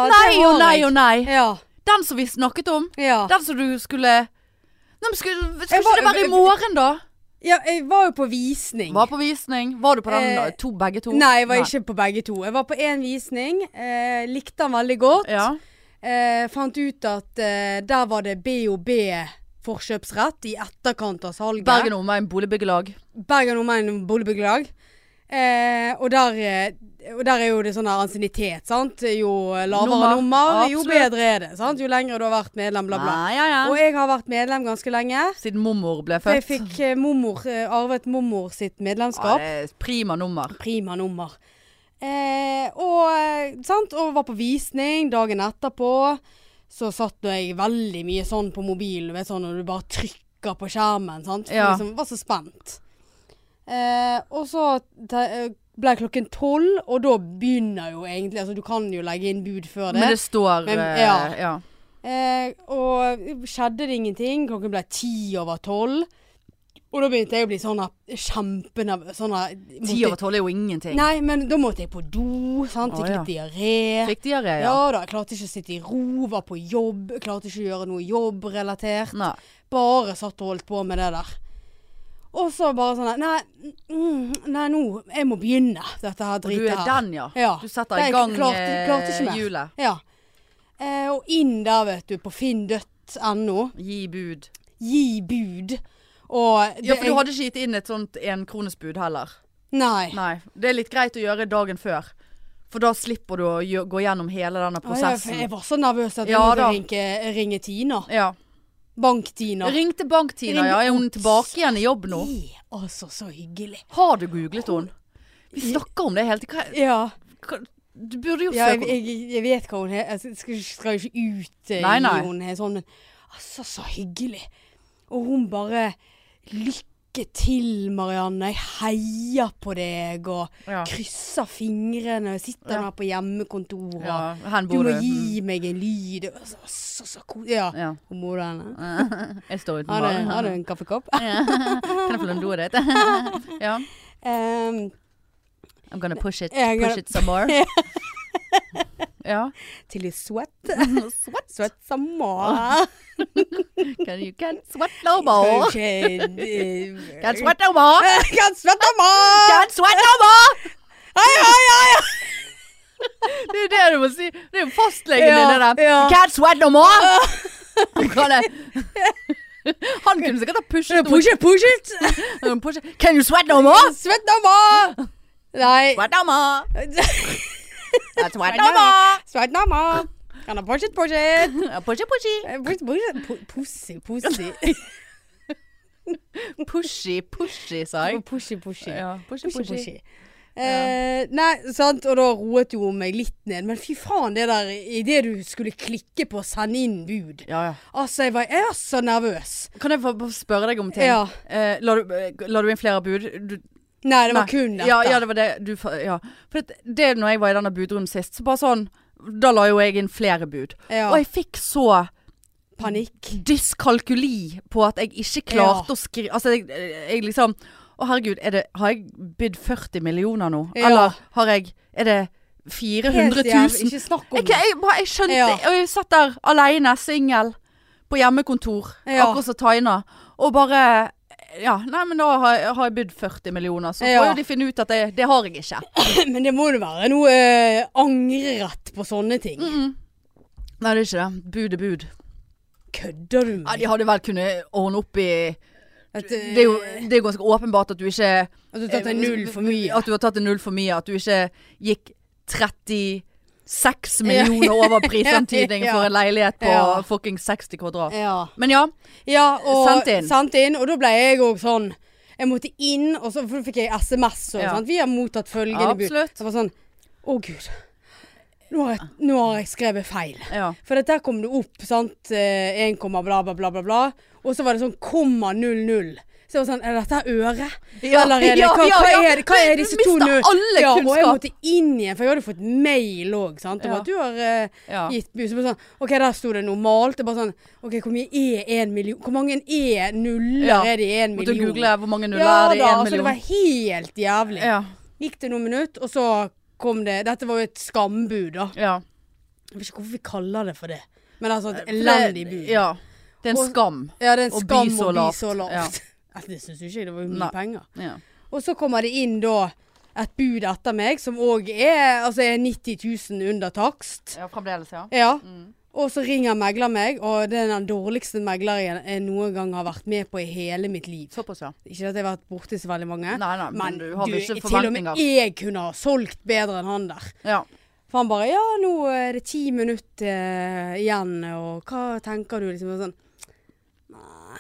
S1: Nei
S2: det har
S1: og nei
S2: jeg.
S1: og nei.
S2: Ja.
S1: Den som vi snakket om.
S2: ja.
S1: Den som du skulle Nei, men skulle, skulle
S2: Jeg var-
S1: ikke det være i morgen, da?
S2: Ja, jeg var jo på visning.
S1: Var på visning. Var du på den
S2: Eh,
S1: da? to, begge to?
S2: Nei, jeg var ikke på begge to. Jeg var på én visning. Eh, likte den veldig godt.
S1: Ja.
S2: Eh, fant ut at eh, der var det BOB forkjøpsrett i etterkant av salget.
S1: Bergen og Omegn Boligbyggelag.
S2: Bergen Omegn Boligbyggelag. Eh, og, der, eh, og der er jo det sånn her ansiennitet, sant. Jo lavere
S1: Nummer,
S2: nummer, jo
S1: absolutt.
S2: bedre er det. sant? Jo lengre du har vært medlem, bla, bla.
S1: Nei, ja, ja.
S2: Og jeg har vært medlem ganske lenge.
S1: Siden mormor ble
S2: For
S1: født.
S2: jeg fikk eh, mormor, eh, arvet mormor sitt
S1: ja,
S2: medlemskap.
S1: det er prima nummer.
S2: Prima nummer. Eh, og, eh, sant? og var på visning dagen etterpå. Så satt nå jeg veldig mye sånn på mobilen, du vet sånn når du bare trykker på skjermen. Sant? For
S1: Ja.
S2: liksom, var så spent. Eh, og så te- eh, ble klokken tolv, og da begynner jo egentlig Altså, du kan jo legge inn bud før det.
S1: Men det står
S2: Men-
S1: eh,
S2: ja.
S1: ja.
S2: Eh, og skjedde det ingenting. Klokken ble ti over tolv. Og da begynte jeg å bli sånn her kjempenervøs. Sånn her
S1: Ti
S2: måtte-
S1: over tolv er jo ingenting.
S2: Nei, men da måtte jeg på do. Sant?
S1: Å,
S2: Fikk litt diaré.
S1: Fikk diaré,
S2: Ja
S1: ja.
S2: da, jeg klarte ikke å sitte i ro, var på jobb. Klarte ikke å gjøre noe jobbrelatert.
S1: Nei.
S2: Bare satt og holdt på med det der. Og så bare sånn her, Nei, mm, nei, nå Jeg må begynne dette her
S1: Du
S2: dritet
S1: er
S2: her.
S1: den, ja.
S2: Ja.
S1: Du setter
S2: Nei,
S1: i gang
S2: klarte- klarte ikke
S1: eh,
S2: mer.
S1: hjulet.
S2: Ja. Eh, og inn der, vet du, på finn.no.
S1: Gi bud.
S2: gi bud. Og det
S1: Ja, for
S2: er-
S1: du hadde ikke gitt inn et sånt enkronesbud heller.
S2: Nei.
S1: Nei. Det er litt greit å gjøre dagen før. For da slipper du å gjø- gå gjennom hele denne
S2: Å, ja, for
S1: prosessen.
S2: Jeg var så nervøs at jeg
S1: Ja,
S2: måtte
S1: da.
S2: ringe, ringe Tina.
S1: Ja.
S2: Bank-Tina.
S1: Ringte Bank-Tina, ja. Er hun tilbake igjen i jobb nå?
S2: Det er altså så hyggelig.
S1: Har du googlet hun? Vi snakker om det hele tiden.
S2: Ja,
S1: Hva- hva- Du burde jo
S2: ja jeg,
S1: søke om
S2: jeg, jeg vet hva hun er. Jeg skal, skal jo ikke ut eh,
S1: Nei, nei.
S2: i hun er sånn, men altså så hyggelig. Og hun bare Lykke til, Marianne. Jeg heier på deg og
S1: Ja.
S2: krysser fingrene. Jeg sitter
S1: Ja.
S2: her på hjemmekontoret.
S1: ja. Hen
S2: Du
S1: bor du?
S2: må gi meg en lyd. Det var Så, så, så kos- Ja.
S1: Mm. Ja.
S2: Og moderne.
S1: Jeg står uten
S2: Har du, har du
S1: magen.
S2: en kaffekopp? <laughs>
S1: <laughs> Kan jeg få låne doet ditt? <laughs> Ja.
S2: Ehm,
S1: I'm gonna push it,
S2: Jeg-
S1: push it some
S2: <laughs>
S1: more. Ja.
S2: til you sweat.
S1: <laughs> Sweat,
S2: Sweat some more.
S1: can you can sweat no
S2: Skal
S1: more.
S2: ikke, eh,
S1: Can sweat no more.
S2: <laughs> Kan sweat some more!
S1: Can sweat no more.
S2: Hei, hei, hei!
S1: Det er jo det du må si. Det er jo fastlegen din,
S2: Ja,
S1: det der.
S2: ja.
S1: Can't sweat no more. <laughs>
S2: <laughs>
S1: Kan jeg- Han kunne sikkert ha pushet
S2: hei. Push it, push it!
S1: noe- pushet. Can you sweat no more?
S2: Sweat some more! Nei. <laughs>
S1: Sweat no more. That's sweat no
S2: Sweat no
S1: more.
S2: Sweat some more! Kan du push it, push it?
S1: Pushy, pushy.
S2: Eh, Push, push it. Pu- Pussy,
S1: <laughs>
S2: pussy.
S1: Pushy, pushy, sa jeg.
S2: Pushy, pushy.
S1: Ja, pushy,
S2: Pushy,
S1: pushy.
S2: pushy. Eh, nei, sant, og da roet jo hun meg litt ned. Men fy faen, det der idet du skulle klikke på 'send inn bud'
S1: Ja, ja.
S2: Altså, jeg var, jeg var så nervøs.
S1: Kan jeg få få spørre deg om ting?
S2: Ja.
S1: Eh, la, du, eh, la du inn flere bud? Du,
S2: Nei, det var
S1: nei.
S2: kun dette.
S1: Ja, ja, det var det du fa- Ja. For det, det når jeg var i denne budrunden sist, så bare sånn Da la jo jeg inn flere bud.
S2: Ja.
S1: Og jeg fikk så
S2: Panikk.
S1: dyskalkuli på at jeg ikke klarte å skrive Altså, jeg, jeg liksom Å, herregud, er det, har jeg bydd 40 millioner nå?
S2: Ja.
S1: Eller har jeg Er det 400
S2: jævlig,
S1: 000?
S2: Ikke snakk om
S1: Jeg,
S2: det.
S1: jeg, bare, jeg skjønte
S2: Ja.
S1: Og jeg satt der alene, singel, på hjemmekontor,
S2: Ja.
S1: akkurat som Taina, og bare ja, nei, men da har jeg, har jeg bydd 40 millioner, så
S2: Ja.
S1: får jo de finne ut at det, det har jeg ikke.
S2: <laughs> Men det må jo være noe eh, angrerett på sånne ting.
S1: Mm. Nei, det er ikke det. Bud er bud.
S2: Kødder du med
S1: Ja, de hadde vel kunnet ordne opp i
S2: meg? At, eh,
S1: Det er jo, det er jo ganske åpenbart at du ikke
S2: At du har tatt en
S1: eh,
S2: null for mye.
S1: At du har tatt en null for mye. At du ikke gikk 36 millioner
S2: <laughs>
S1: over prisantydning
S2: Ja.
S1: for en leilighet på
S2: Ja.
S1: fucking 60 kvadrat.
S2: Ja.
S1: Men ja.
S2: ja og
S1: Sendt inn.
S2: sendt inn, Og da ble jeg òg sånn Jeg måtte inn, og så for da fikk jeg SMS og
S1: Ja.
S2: sånn. Vi har mottatt følgende bud.
S1: Absolutt.
S2: Så jeg var sånn Å, gud. Nå har, jeg, nå har jeg skrevet feil.
S1: ja.
S2: For dette her kom det opp, sant. eh, 1, komma bla, bla, bla, bla, bla. Og så var det sånn komma null null. Så jeg var sånn Er dette øre?
S1: Ja,
S2: Eller er det,
S1: ja,
S2: hva,
S1: ja,
S2: hva,
S1: ja.
S2: er, det- hva er disse
S1: Du
S2: to
S1: mister
S2: null?
S1: alle
S2: ja, Og jeg
S1: kunnskap.
S2: måtte inn igjen, for jeg hadde fått mail òg, sant. Om
S1: Ja.
S2: at du har eh,
S1: Ja.
S2: gitt bud. Så bare sånn OK, der sto det normalt. Det er bare sånn OK, hvor mye er en million? Hvor mange er nuller
S1: Ja.
S2: er det i en
S1: Måtte
S2: million?
S1: google hvor mange nuller
S2: ja,
S1: er det i
S2: da,
S1: en
S2: altså, det
S1: million.
S2: var helt jævlig.
S1: Ja.
S2: Gikk det noen minutter, og så kom det Dette var jo et skambud, da.
S1: ja.
S2: Jeg vet ikke hvorfor vi kaller det for det. Men altså
S1: Eh,
S2: et
S1: For
S2: elendig
S1: det-
S2: bud.
S1: Ja. Det er en
S2: Og-
S1: skam.
S2: Ja, det er en
S1: Og by
S2: skam
S1: så
S2: å bli
S1: lavt.
S2: så <laughs>
S1: Ja.
S2: lavt. Altså, Det syns jo ikke jeg. Det var jo mye
S1: Nei.
S2: penger.
S1: Ja.
S2: Og så kommer det inn da et bud etter meg som òg er, altså, er 90 000 under takst.
S1: ja, fremdeles, ja.
S2: Ja.
S1: Mm.
S2: Og så ringer megler meg, og det er den dårligste megleren jeg eh, noen gang har vært med på i hele mitt liv.
S1: Såpass, ja.
S2: Ikke at jeg har vært borti så veldig mange.
S1: Nei, nei, men du har vel ikke
S2: til og med
S1: forventninger.
S2: jeg kunne ha solgt bedre enn han der.
S1: Ja.
S2: For han bare Ja, nå er det ti minutter eh, igjen, og hva tenker du? Liksom og sånn Nei,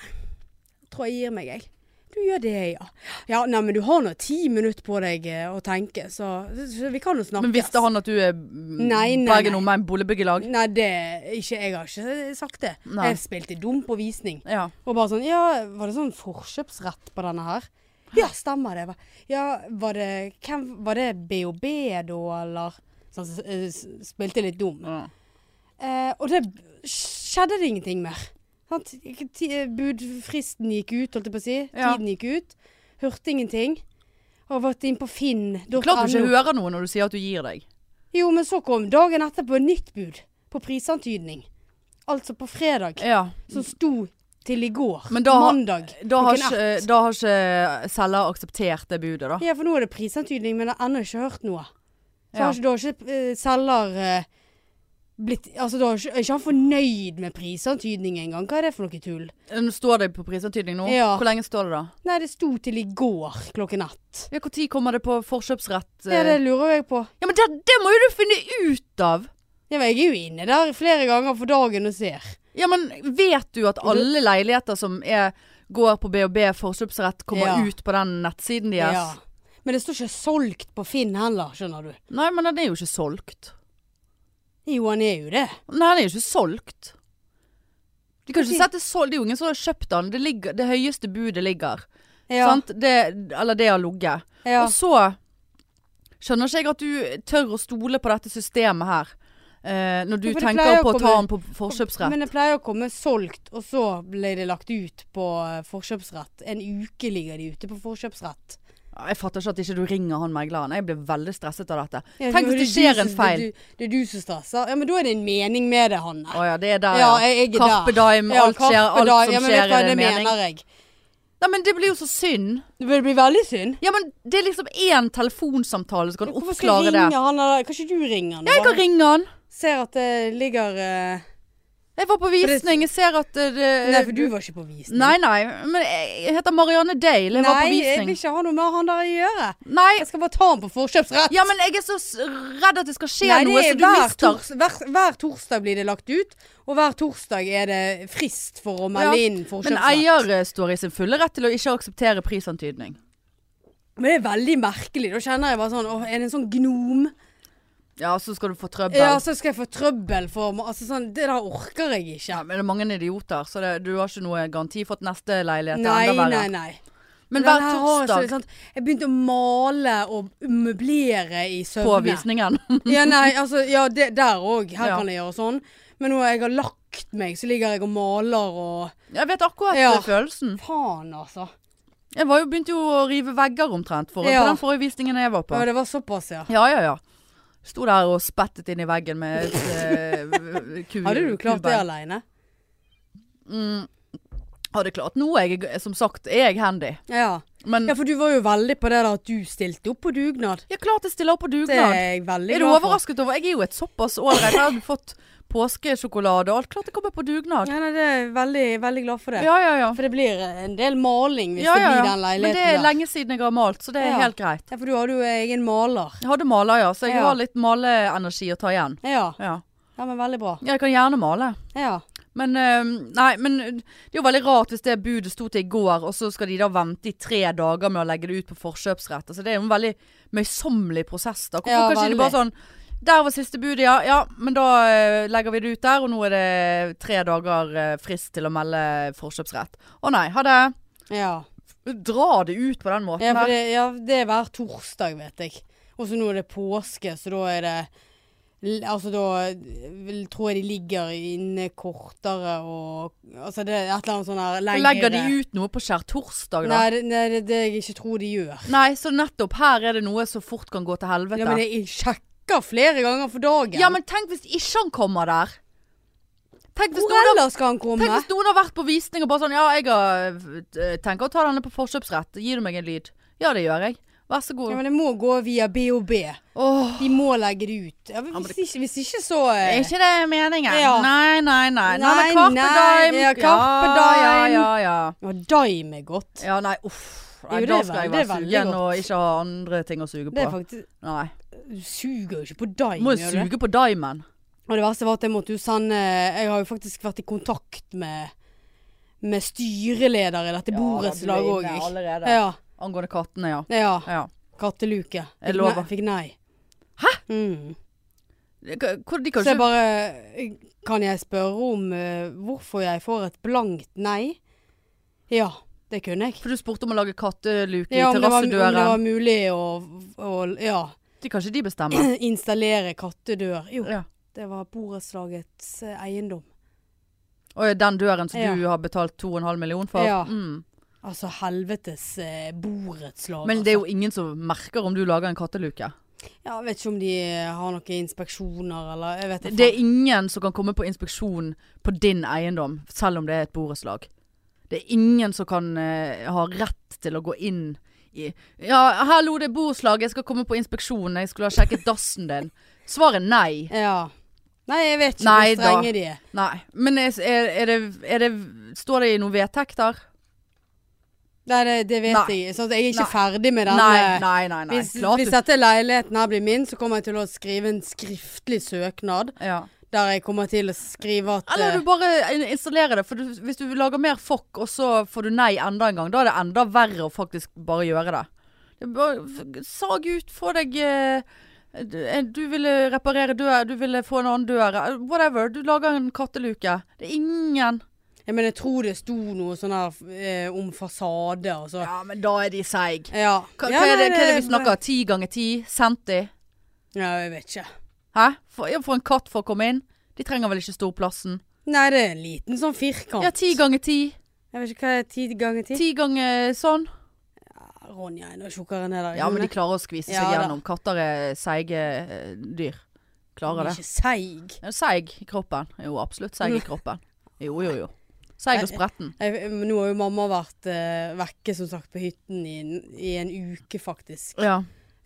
S2: tror jeg gir meg, jeg. Du gjør det, ja. Ja, nei, men du har nå ti minutter på deg eh, å tenke, så, så vi kan jo snakkes.
S1: Men visste han at du er
S2: Nei, nei,
S1: Bergen
S2: nei.
S1: Omegn boligbyggelag?
S2: Nei, det ikke Jeg har ikke sagt det.
S1: Nei.
S2: Jeg spilte dum på visning.
S1: Ja.
S2: Og bare sånn Ja, var det sånn forkjøpsrett på denne her? Ja, stemmer det. Ja, var det Hvem Var det BOB da, eller Sånn, s- s- spilte litt dum.
S1: ja.
S2: Eh, og det skjedde det ingenting mer. Sant? Ikke ti- eh, Budfristen gikk ut, holdt jeg på å si.
S1: Ja.
S2: Tiden gikk ut. Hørte ingenting. Og vært inn på finn.no.
S1: Klart du ikke hører noe når du sier at du gir deg.
S2: Jo, men så kom dagen etterpå et nytt bud på prisantydning. Altså på fredag,
S1: Ja.
S2: som sto til i går.
S1: Men da har-
S2: mandag.
S1: Da har,
S2: klokken
S1: ikke,
S2: ett.
S1: da har ikke selger akseptert det budet, da.
S2: Ja, for nå er det prisantydning, men jeg har ennå ikke hørt noe. Så
S1: Ja.
S2: har ikke, da har ikke eh, selger eh, blitt Altså, da har ikke, er ikke han fornøyd med prisantydning engang. Hva er det for noe tull?
S1: Nå Står det på prisantydning nå?
S2: Ja.
S1: Hvor lenge står det da?
S2: Nei, det sto til i går klokken ett.
S1: Ja, Når kommer det på forkjøpsrett? eh?
S2: Ja, det lurer jeg på.
S1: Ja, men det, det må jo du finne ut av!
S2: Ja, men jeg er jo inne der flere ganger for dagen og ser.
S1: Ja, men vet du at alle leiligheter som er, går på BHB forkjøpsrett, kommer
S2: Ja.
S1: ut på den nettsiden deres?
S2: Ja. Men det står ikke solgt på Finn heller, skjønner du.
S1: Nei, men den er jo ikke solgt.
S2: Jo, han er jo det.
S1: Nei, den er jo ikke solgt. De kan
S2: Fordi-
S1: ikke sette solgt. Det er jo ingen som har kjøpt den. Det, ligger, det høyeste budet ligger.
S2: Ja.
S1: Sant? Det, eller det har ligget. Sånn.
S2: Ja.
S1: Og så skjønner ikke jeg at du tør å stole på dette systemet her. eh, når du
S2: Ja, for det
S1: tenker
S2: pleier å
S1: på å ta
S2: komme-
S1: den på forkjøpsrett.
S2: Men det pleier å komme solgt, og så ble det lagt ut på eh, forkjøpsrett. En uke ligger de ute på forkjøpsrett.
S1: Ja, Jeg fatter ikke at ikke du ringer han megleren. Jeg blir veldig stresset av dette.
S2: Ja,
S1: Tenk
S2: du-
S1: hvis det
S2: er
S1: skjer
S2: du
S1: en
S2: som-
S1: feil.
S2: Det, er du- det er du som stresser. Ja, men da er det en mening med det, Hanne.
S1: Å ja, det er der,
S2: Ja,
S1: ja.
S2: jeg, jeg er
S1: Carpe
S2: der.
S1: diem, alt skjer,
S2: Carpe
S1: alt
S2: Diem.
S1: som
S2: ja, men
S1: skjer
S2: vet du hva,
S1: er det
S2: det
S1: mening.
S2: mener jeg.
S1: Nei, men det blir jo så synd.
S2: Det blir veldig synd.
S1: Ja, men det er liksom én telefonsamtale som kan
S2: Hvorfor skal
S1: oppklare
S2: jeg
S1: det.
S2: ringe han eller Kanskje du ringer han?
S1: Jeg
S2: bare?
S1: kan ringe han.
S2: Ser at det ligger eh,
S1: Jeg var på visning, jeg ser at eh, det
S2: Nei, for du var ikke på visning.
S1: Nei, nei, men jeg jeg heter Marianne Dale. Jeg var på
S2: Nei, jeg vil
S1: visning.
S2: ikke ha noe med han der å gjøre.
S1: Nei,
S2: Jeg skal bare ta han på forkjøpsrett.
S1: ja, men jeg er så s- redd at det skal skje
S2: Nei, det
S1: noe,
S2: er
S1: så du
S2: hver,
S1: mister
S2: tors, hver, hver torsdag blir det lagt ut, og hver torsdag er det frist for å melde
S1: Ja,
S2: inn
S1: Men
S2: forkjøpsrett.
S1: eier eh, står i sin fulle rett til å ikke akseptere prisantydning.
S2: Men det er veldig merkelig. Da kjenner jeg bare sånn Åh, er det en sånn gnom?
S1: Ja, så skal du få trøbbel.
S2: Ja, så skal jeg få trøbbel for meg. Altså sånn, det der orker jeg ikke.
S1: Ja, men det er mange idioter, så det, du har ikke noe garanti for at neste leilighet er
S2: Nei,
S1: enda verre.
S2: nei, nei.
S1: Men
S2: Den
S1: hver
S2: her har jeg så-
S1: torsdag
S2: sant, Jeg begynte å male og møblere i
S1: på
S2: søvne.
S1: visningen.
S2: <laughs> Ja, nei, altså, ja, det, der òg. Her
S1: Ja.
S2: kan jeg gjøre sånn. Men når jeg har lagt meg, så ligger jeg og maler og
S1: <laughs> Jeg vet akkurat
S2: Ja.
S1: eh, følelsen.
S2: Faen, altså.
S1: Jeg var jo, begynte jo å rive vegger omtrent for,
S2: Ja.
S1: på den forrige visningen jeg var på. Mm.
S2: Ja, det var såpass, ja.
S1: Ja, ja, ja. Sto der og spettet inn i veggen med
S2: <laughs>
S1: et eh, ku-
S2: Hadde du klart det
S1: kubein.
S2: aleine?
S1: Hadde klart noe. Jeg, er- som sagt er jeg handy.
S2: Ja.
S1: Men
S2: ja, for du var jo veldig på det der at du stilte opp på dugnad.
S1: jeg er klart jeg stiller opp på
S2: Det er
S1: dugnad.
S2: jeg veldig
S1: Er du
S2: glad for.
S1: overrasket over? Jeg er jo et såpass ålreit. Jeg hadde fått påskesjokolade og alt. Klart det kommer på dugnad.
S2: Ja, nei, det er veldig, veldig glad for det.
S1: Ja, ja, ja.
S2: For det blir en del maling hvis
S1: Ja,
S2: det
S1: ja,
S2: blir
S1: ja.
S2: den
S1: Men det er
S2: leiligheten der.
S1: lenge siden jeg har malt, så det er
S2: Ja.
S1: helt greit.
S2: Ja, for du hadde jo egen maler.
S1: Jeg hadde maler, ja, så jeg
S2: Ja.
S1: har litt maleenergi å ta igjen.
S2: Ja,
S1: Ja.
S2: ja men veldig bra.
S1: Jeg kan gjerne male.
S2: Ja.
S1: Men, eh, nei, men det er jo veldig rart hvis det budet sto til i går, og så skal de da vente i tre dager med å legge det ut på forkjøpsrett. Altså, det er jo en veldig møysommelig prosess. da. Hvorfor
S2: Ja,
S1: kan ikke
S2: veldig.
S1: du bare sånn Der var siste budet, ja. ja. Men da eh, legger vi det ut der, og nå er det tre dager eh, frist til å melde forkjøpsrett. Å nei, ha det.
S2: Ja.
S1: Dra det ut på den måten
S2: Ja,
S1: der.
S2: for det, ja, det er hver torsdag, vet jeg. Og så nå er det påske, så da er det l- Altså da vil- tror jeg de ligger inne kortere og Altså det er et eller annet sånn her lengre
S1: Legger de ut noe på skjærtorsdag, da?
S2: Nei, det- nei, det er det jeg ikke tror de gjør.
S1: Nei, så nettopp her er det noe som fort kan gå til helvete.
S2: Ja, men jeg sjekker flere ganger for dagen.
S1: Ja, men tenk hvis ikke han kommer der. Tenk hvis,
S2: Hvor
S1: noen har,
S2: ellers skal han komme?
S1: tenk hvis noen har vært på visning og bare sånn Ja, jeg har, øh, tenker å ta denne på forkjøpsrett. Gir du meg en lyd? Ja, det gjør jeg. Vær så
S2: Ja,
S1: god.
S2: men det må gå via BOB.
S1: Åh,
S2: De må legge det ut. Ja, men
S1: men
S2: hvis, ikke, hvis ikke, så
S1: er
S2: eh,
S1: ikke det meningen?
S2: Ja.
S1: Nei, nei, nei. Nei, men
S2: Nei,
S1: Carpe
S2: nei,
S1: Diem.
S2: ja, Carpe
S1: Ja,
S2: Diem.
S1: ja, ja.
S2: Ja, Daim er godt.
S1: Ja, nei, uff. Nei,
S2: Jo, det
S1: da
S2: er
S1: skal jeg
S2: vel- det
S1: være
S2: er veldig
S1: sugen
S2: godt.
S1: og ikke ha andre ting å suge
S2: Det er
S1: på.
S2: faktisk
S1: Nei.
S2: Du suger jo ikke på Daim.
S1: Må
S2: gjør
S1: jo
S2: du det?
S1: suge på Diamond.
S2: Og det verste var at jeg måtte jo sende Jeg har jo faktisk vært i kontakt med Med styreleder i dette borettslaget òg. jeg.
S1: Allerede.
S2: Ja,
S1: Angående kattene, ja.
S2: ja.
S1: ja.
S2: Katteluke. Fikk
S1: Jeg lover.
S2: nei- Fikk nei. Hæ? Mm.
S1: Hvor, de
S2: Så
S1: kan
S2: jeg
S1: ikke
S2: bare Kan jeg spørre om eh, hvorfor jeg får et blankt nei? Ja, det kunne jeg.
S1: For du spurte om å lage katteluke
S2: Ja,
S1: i
S2: om det, var, om det
S1: terrassedøren.
S2: var mulig å, å ja, <clears throat>
S1: De kan ikke de bestemme?
S2: installere kattedør. Jo,
S1: Ja.
S2: det var borettslagets eh, eiendom.
S1: Og den døren som
S2: Ja.
S1: du har betalt 2,5 millioner for?
S2: Ja.
S1: Mm.
S2: Altså helvetes eh, borettslag.
S1: Men det er jo ingen som merker om du lager en katteluke.
S2: altså. Ja, jeg vet ikke om de har noen inspeksjoner eller jeg vet ikke.
S1: Det er ingen som kan komme på inspeksjon på din eiendom, selv om det er et borettslag. Det er ingen som kan eh, ha rett til å gå inn i Ja, hallo, det er borettslag, jeg skal komme på inspeksjon, jeg skulle ha sjekket dassen din. Svaret er nei.
S2: Ja. Nei, jeg vet ikke
S1: Nei
S2: hvor
S1: da.
S2: strenge de er.
S1: Nei. Men er, er, er, det, er det Står det i noen vedtekter?
S2: Nei, det, det vet
S1: Nei.
S2: jeg. Så jeg er ikke
S1: Nei.
S2: ferdig med denne.
S1: Nei, nei, nei. nei.
S2: Hvis,
S1: Klart
S2: hvis
S1: du
S2: dette leiligheten her blir min, så kommer jeg til å skrive en skriftlig søknad.
S1: ja.
S2: Der jeg kommer til å skrive at
S1: Eller
S2: eh,
S1: du bare in- installerer det. For du, hvis du lager mer fokk, og så får du nei enda en gang, da er det enda verre å faktisk bare gjøre det. det er bare, f- sag ut, få deg eh, du- eh, Du ville reparere dør, du ville få en annen dør. eh, Whatever. Du lager en katteluke. Det er ingen
S2: eh, Jeg mener, jeg tror det sto noe sånn her eh, om fasade og så.
S1: Ja, men da er de seig.
S2: Ja.
S1: Hva,
S2: Ja,
S1: hva, er det-
S2: nei,
S1: hva er det vi snakker? Ti ganger ti? Centi?
S2: Ja, jeg vet ikke.
S1: Hæ? For, ja, for en katt for å komme inn? De trenger vel ikke storplassen?
S2: Nei, det er en liten sånn firkant.
S1: Ja, ti ganger ti.
S2: Jeg vet ikke hva er ti ganger ti.
S1: Ti ganger sånn.
S2: Ronja er enda tjukkere enn det der.
S1: Ja, men de
S2: Hun
S1: klarer å skvise seg
S2: Ja, da.
S1: gjennom. Katter er seige eh, dyr. Klarer
S2: er
S1: det.
S2: ikke seig.
S1: Ja, Seig i kroppen. Jo, absolutt seig
S2: <laughs>
S1: i kroppen. Jo, jo, jo. Seig og spretten.
S2: Jeg, nå har jo mamma vært eh, vekke, som sagt, på hytten i, en- i en uke, faktisk.
S1: Ja,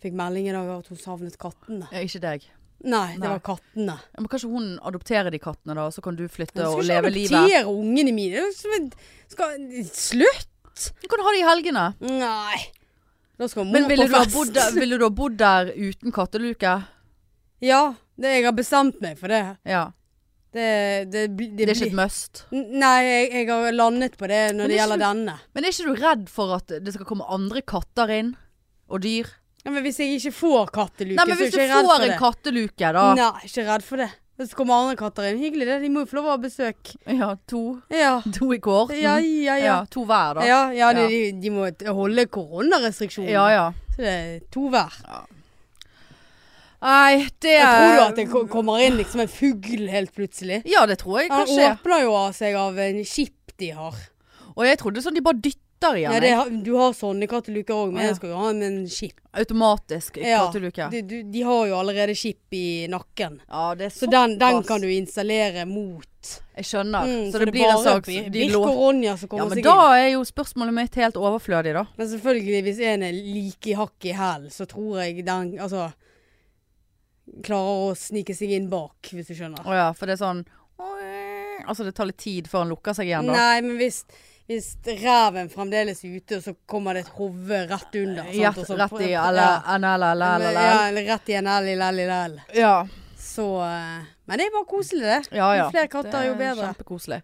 S2: Fikk melding i dag at hun savnet kattene.
S1: ja, ikke deg.
S2: Nei, det
S1: Nei.
S2: var kattene.
S1: Ja, Men kanskje hun adopterer de kattene, da, så kan du flytte og
S2: Jeg
S1: leve
S2: skal ikke
S1: livet.
S2: adoptere ungene mine. Det er jo som en- Skal, slutt!
S1: Du kan ha det i helgene.
S2: Nei. Da skal mor
S1: Men ville
S2: på
S1: du, ha
S2: fest.
S1: bodd der, ville du ha bodd der uten katteluke?
S2: <laughs> Ja, det, jeg har bestemt meg for det.
S1: Ja.
S2: Det, det, bli- det,
S1: Det er ikke
S2: blir-
S1: et must.
S2: N- Nei, jeg, jeg har landet på det når
S1: Men
S2: det
S1: det er
S2: gjelder
S1: ikke-
S2: denne.
S1: Men er ikke du redd for at det skal komme andre katter inn? Og dyr?
S2: Ja, men hvis jeg ikke får katteluke,
S1: Nei, men
S2: så er
S1: hvis
S2: jeg
S1: du
S2: ikke redd
S1: får
S2: for
S1: en
S2: det.
S1: katteluke, da.
S2: Nei, ikke redd for det. Hvis det kommer andre katter inn, hyggelig det. De må jo få lov å ha besøk.
S1: Ja, to.
S2: Ja,
S1: To i kohorten.
S2: ja, ja. Ja,
S1: Ja, to hver, da.
S2: ja, ja de,
S1: Ja.
S2: de, de må t- holde koronarestriksjoner.
S1: Ja, ja.
S2: Så det er to hver.
S1: Nei, det
S2: Jeg tror du at det ko- kommer inn liksom en fugl helt plutselig?
S1: Ja, det tror jeg
S2: Han
S1: kan skje.
S2: åpner jo av seg av en chip de har.
S1: Og jeg trodde sånn de bare dytter igjen.
S2: Ja, det, har- du har sånne katteluker òg, men
S1: Ja.
S2: jeg skal jo ha med en chip.
S1: Automatisk
S2: Ja,
S1: katteluke.
S2: De, du- de har jo allerede chip i nakken.
S1: Ja, det er
S2: Så
S1: så
S2: den, den
S1: Såpass.
S2: kan du installere mot.
S1: Jeg skjønner.
S2: Mm,
S1: så det, blir en
S2: bare
S1: slags
S2: Bir-
S1: de
S2: Birk
S1: lå-
S2: og Ronja som
S1: Ja,
S2: kommer
S1: men
S2: seg
S1: da
S2: inn.
S1: er jo spørsmålet mitt helt overflødig, da.
S2: Men selvfølgelig, hvis en er like i hakk i hæl, så tror jeg den Altså klarer å snike seg inn bak, hvis du skjønner.
S1: Å ja, for det er sånn Altså det tar litt tid før han lukker seg igjen, da.
S2: Nei, men hvis, hvis ræven fremdeles er ute, og så kommer det et hode rett under. sant,
S1: Hjert,
S2: og så-
S1: Eh, rett i
S2: altså, Ja.
S1: alle NLLLL.
S2: Ja, eller rett i en LLLL.
S1: Ja.
S2: Så eh, Men det er bare koselig, det.
S1: ja, ja.
S2: Jo flere katter, jo
S1: Det er
S2: bedre.
S1: Kjempekoselig.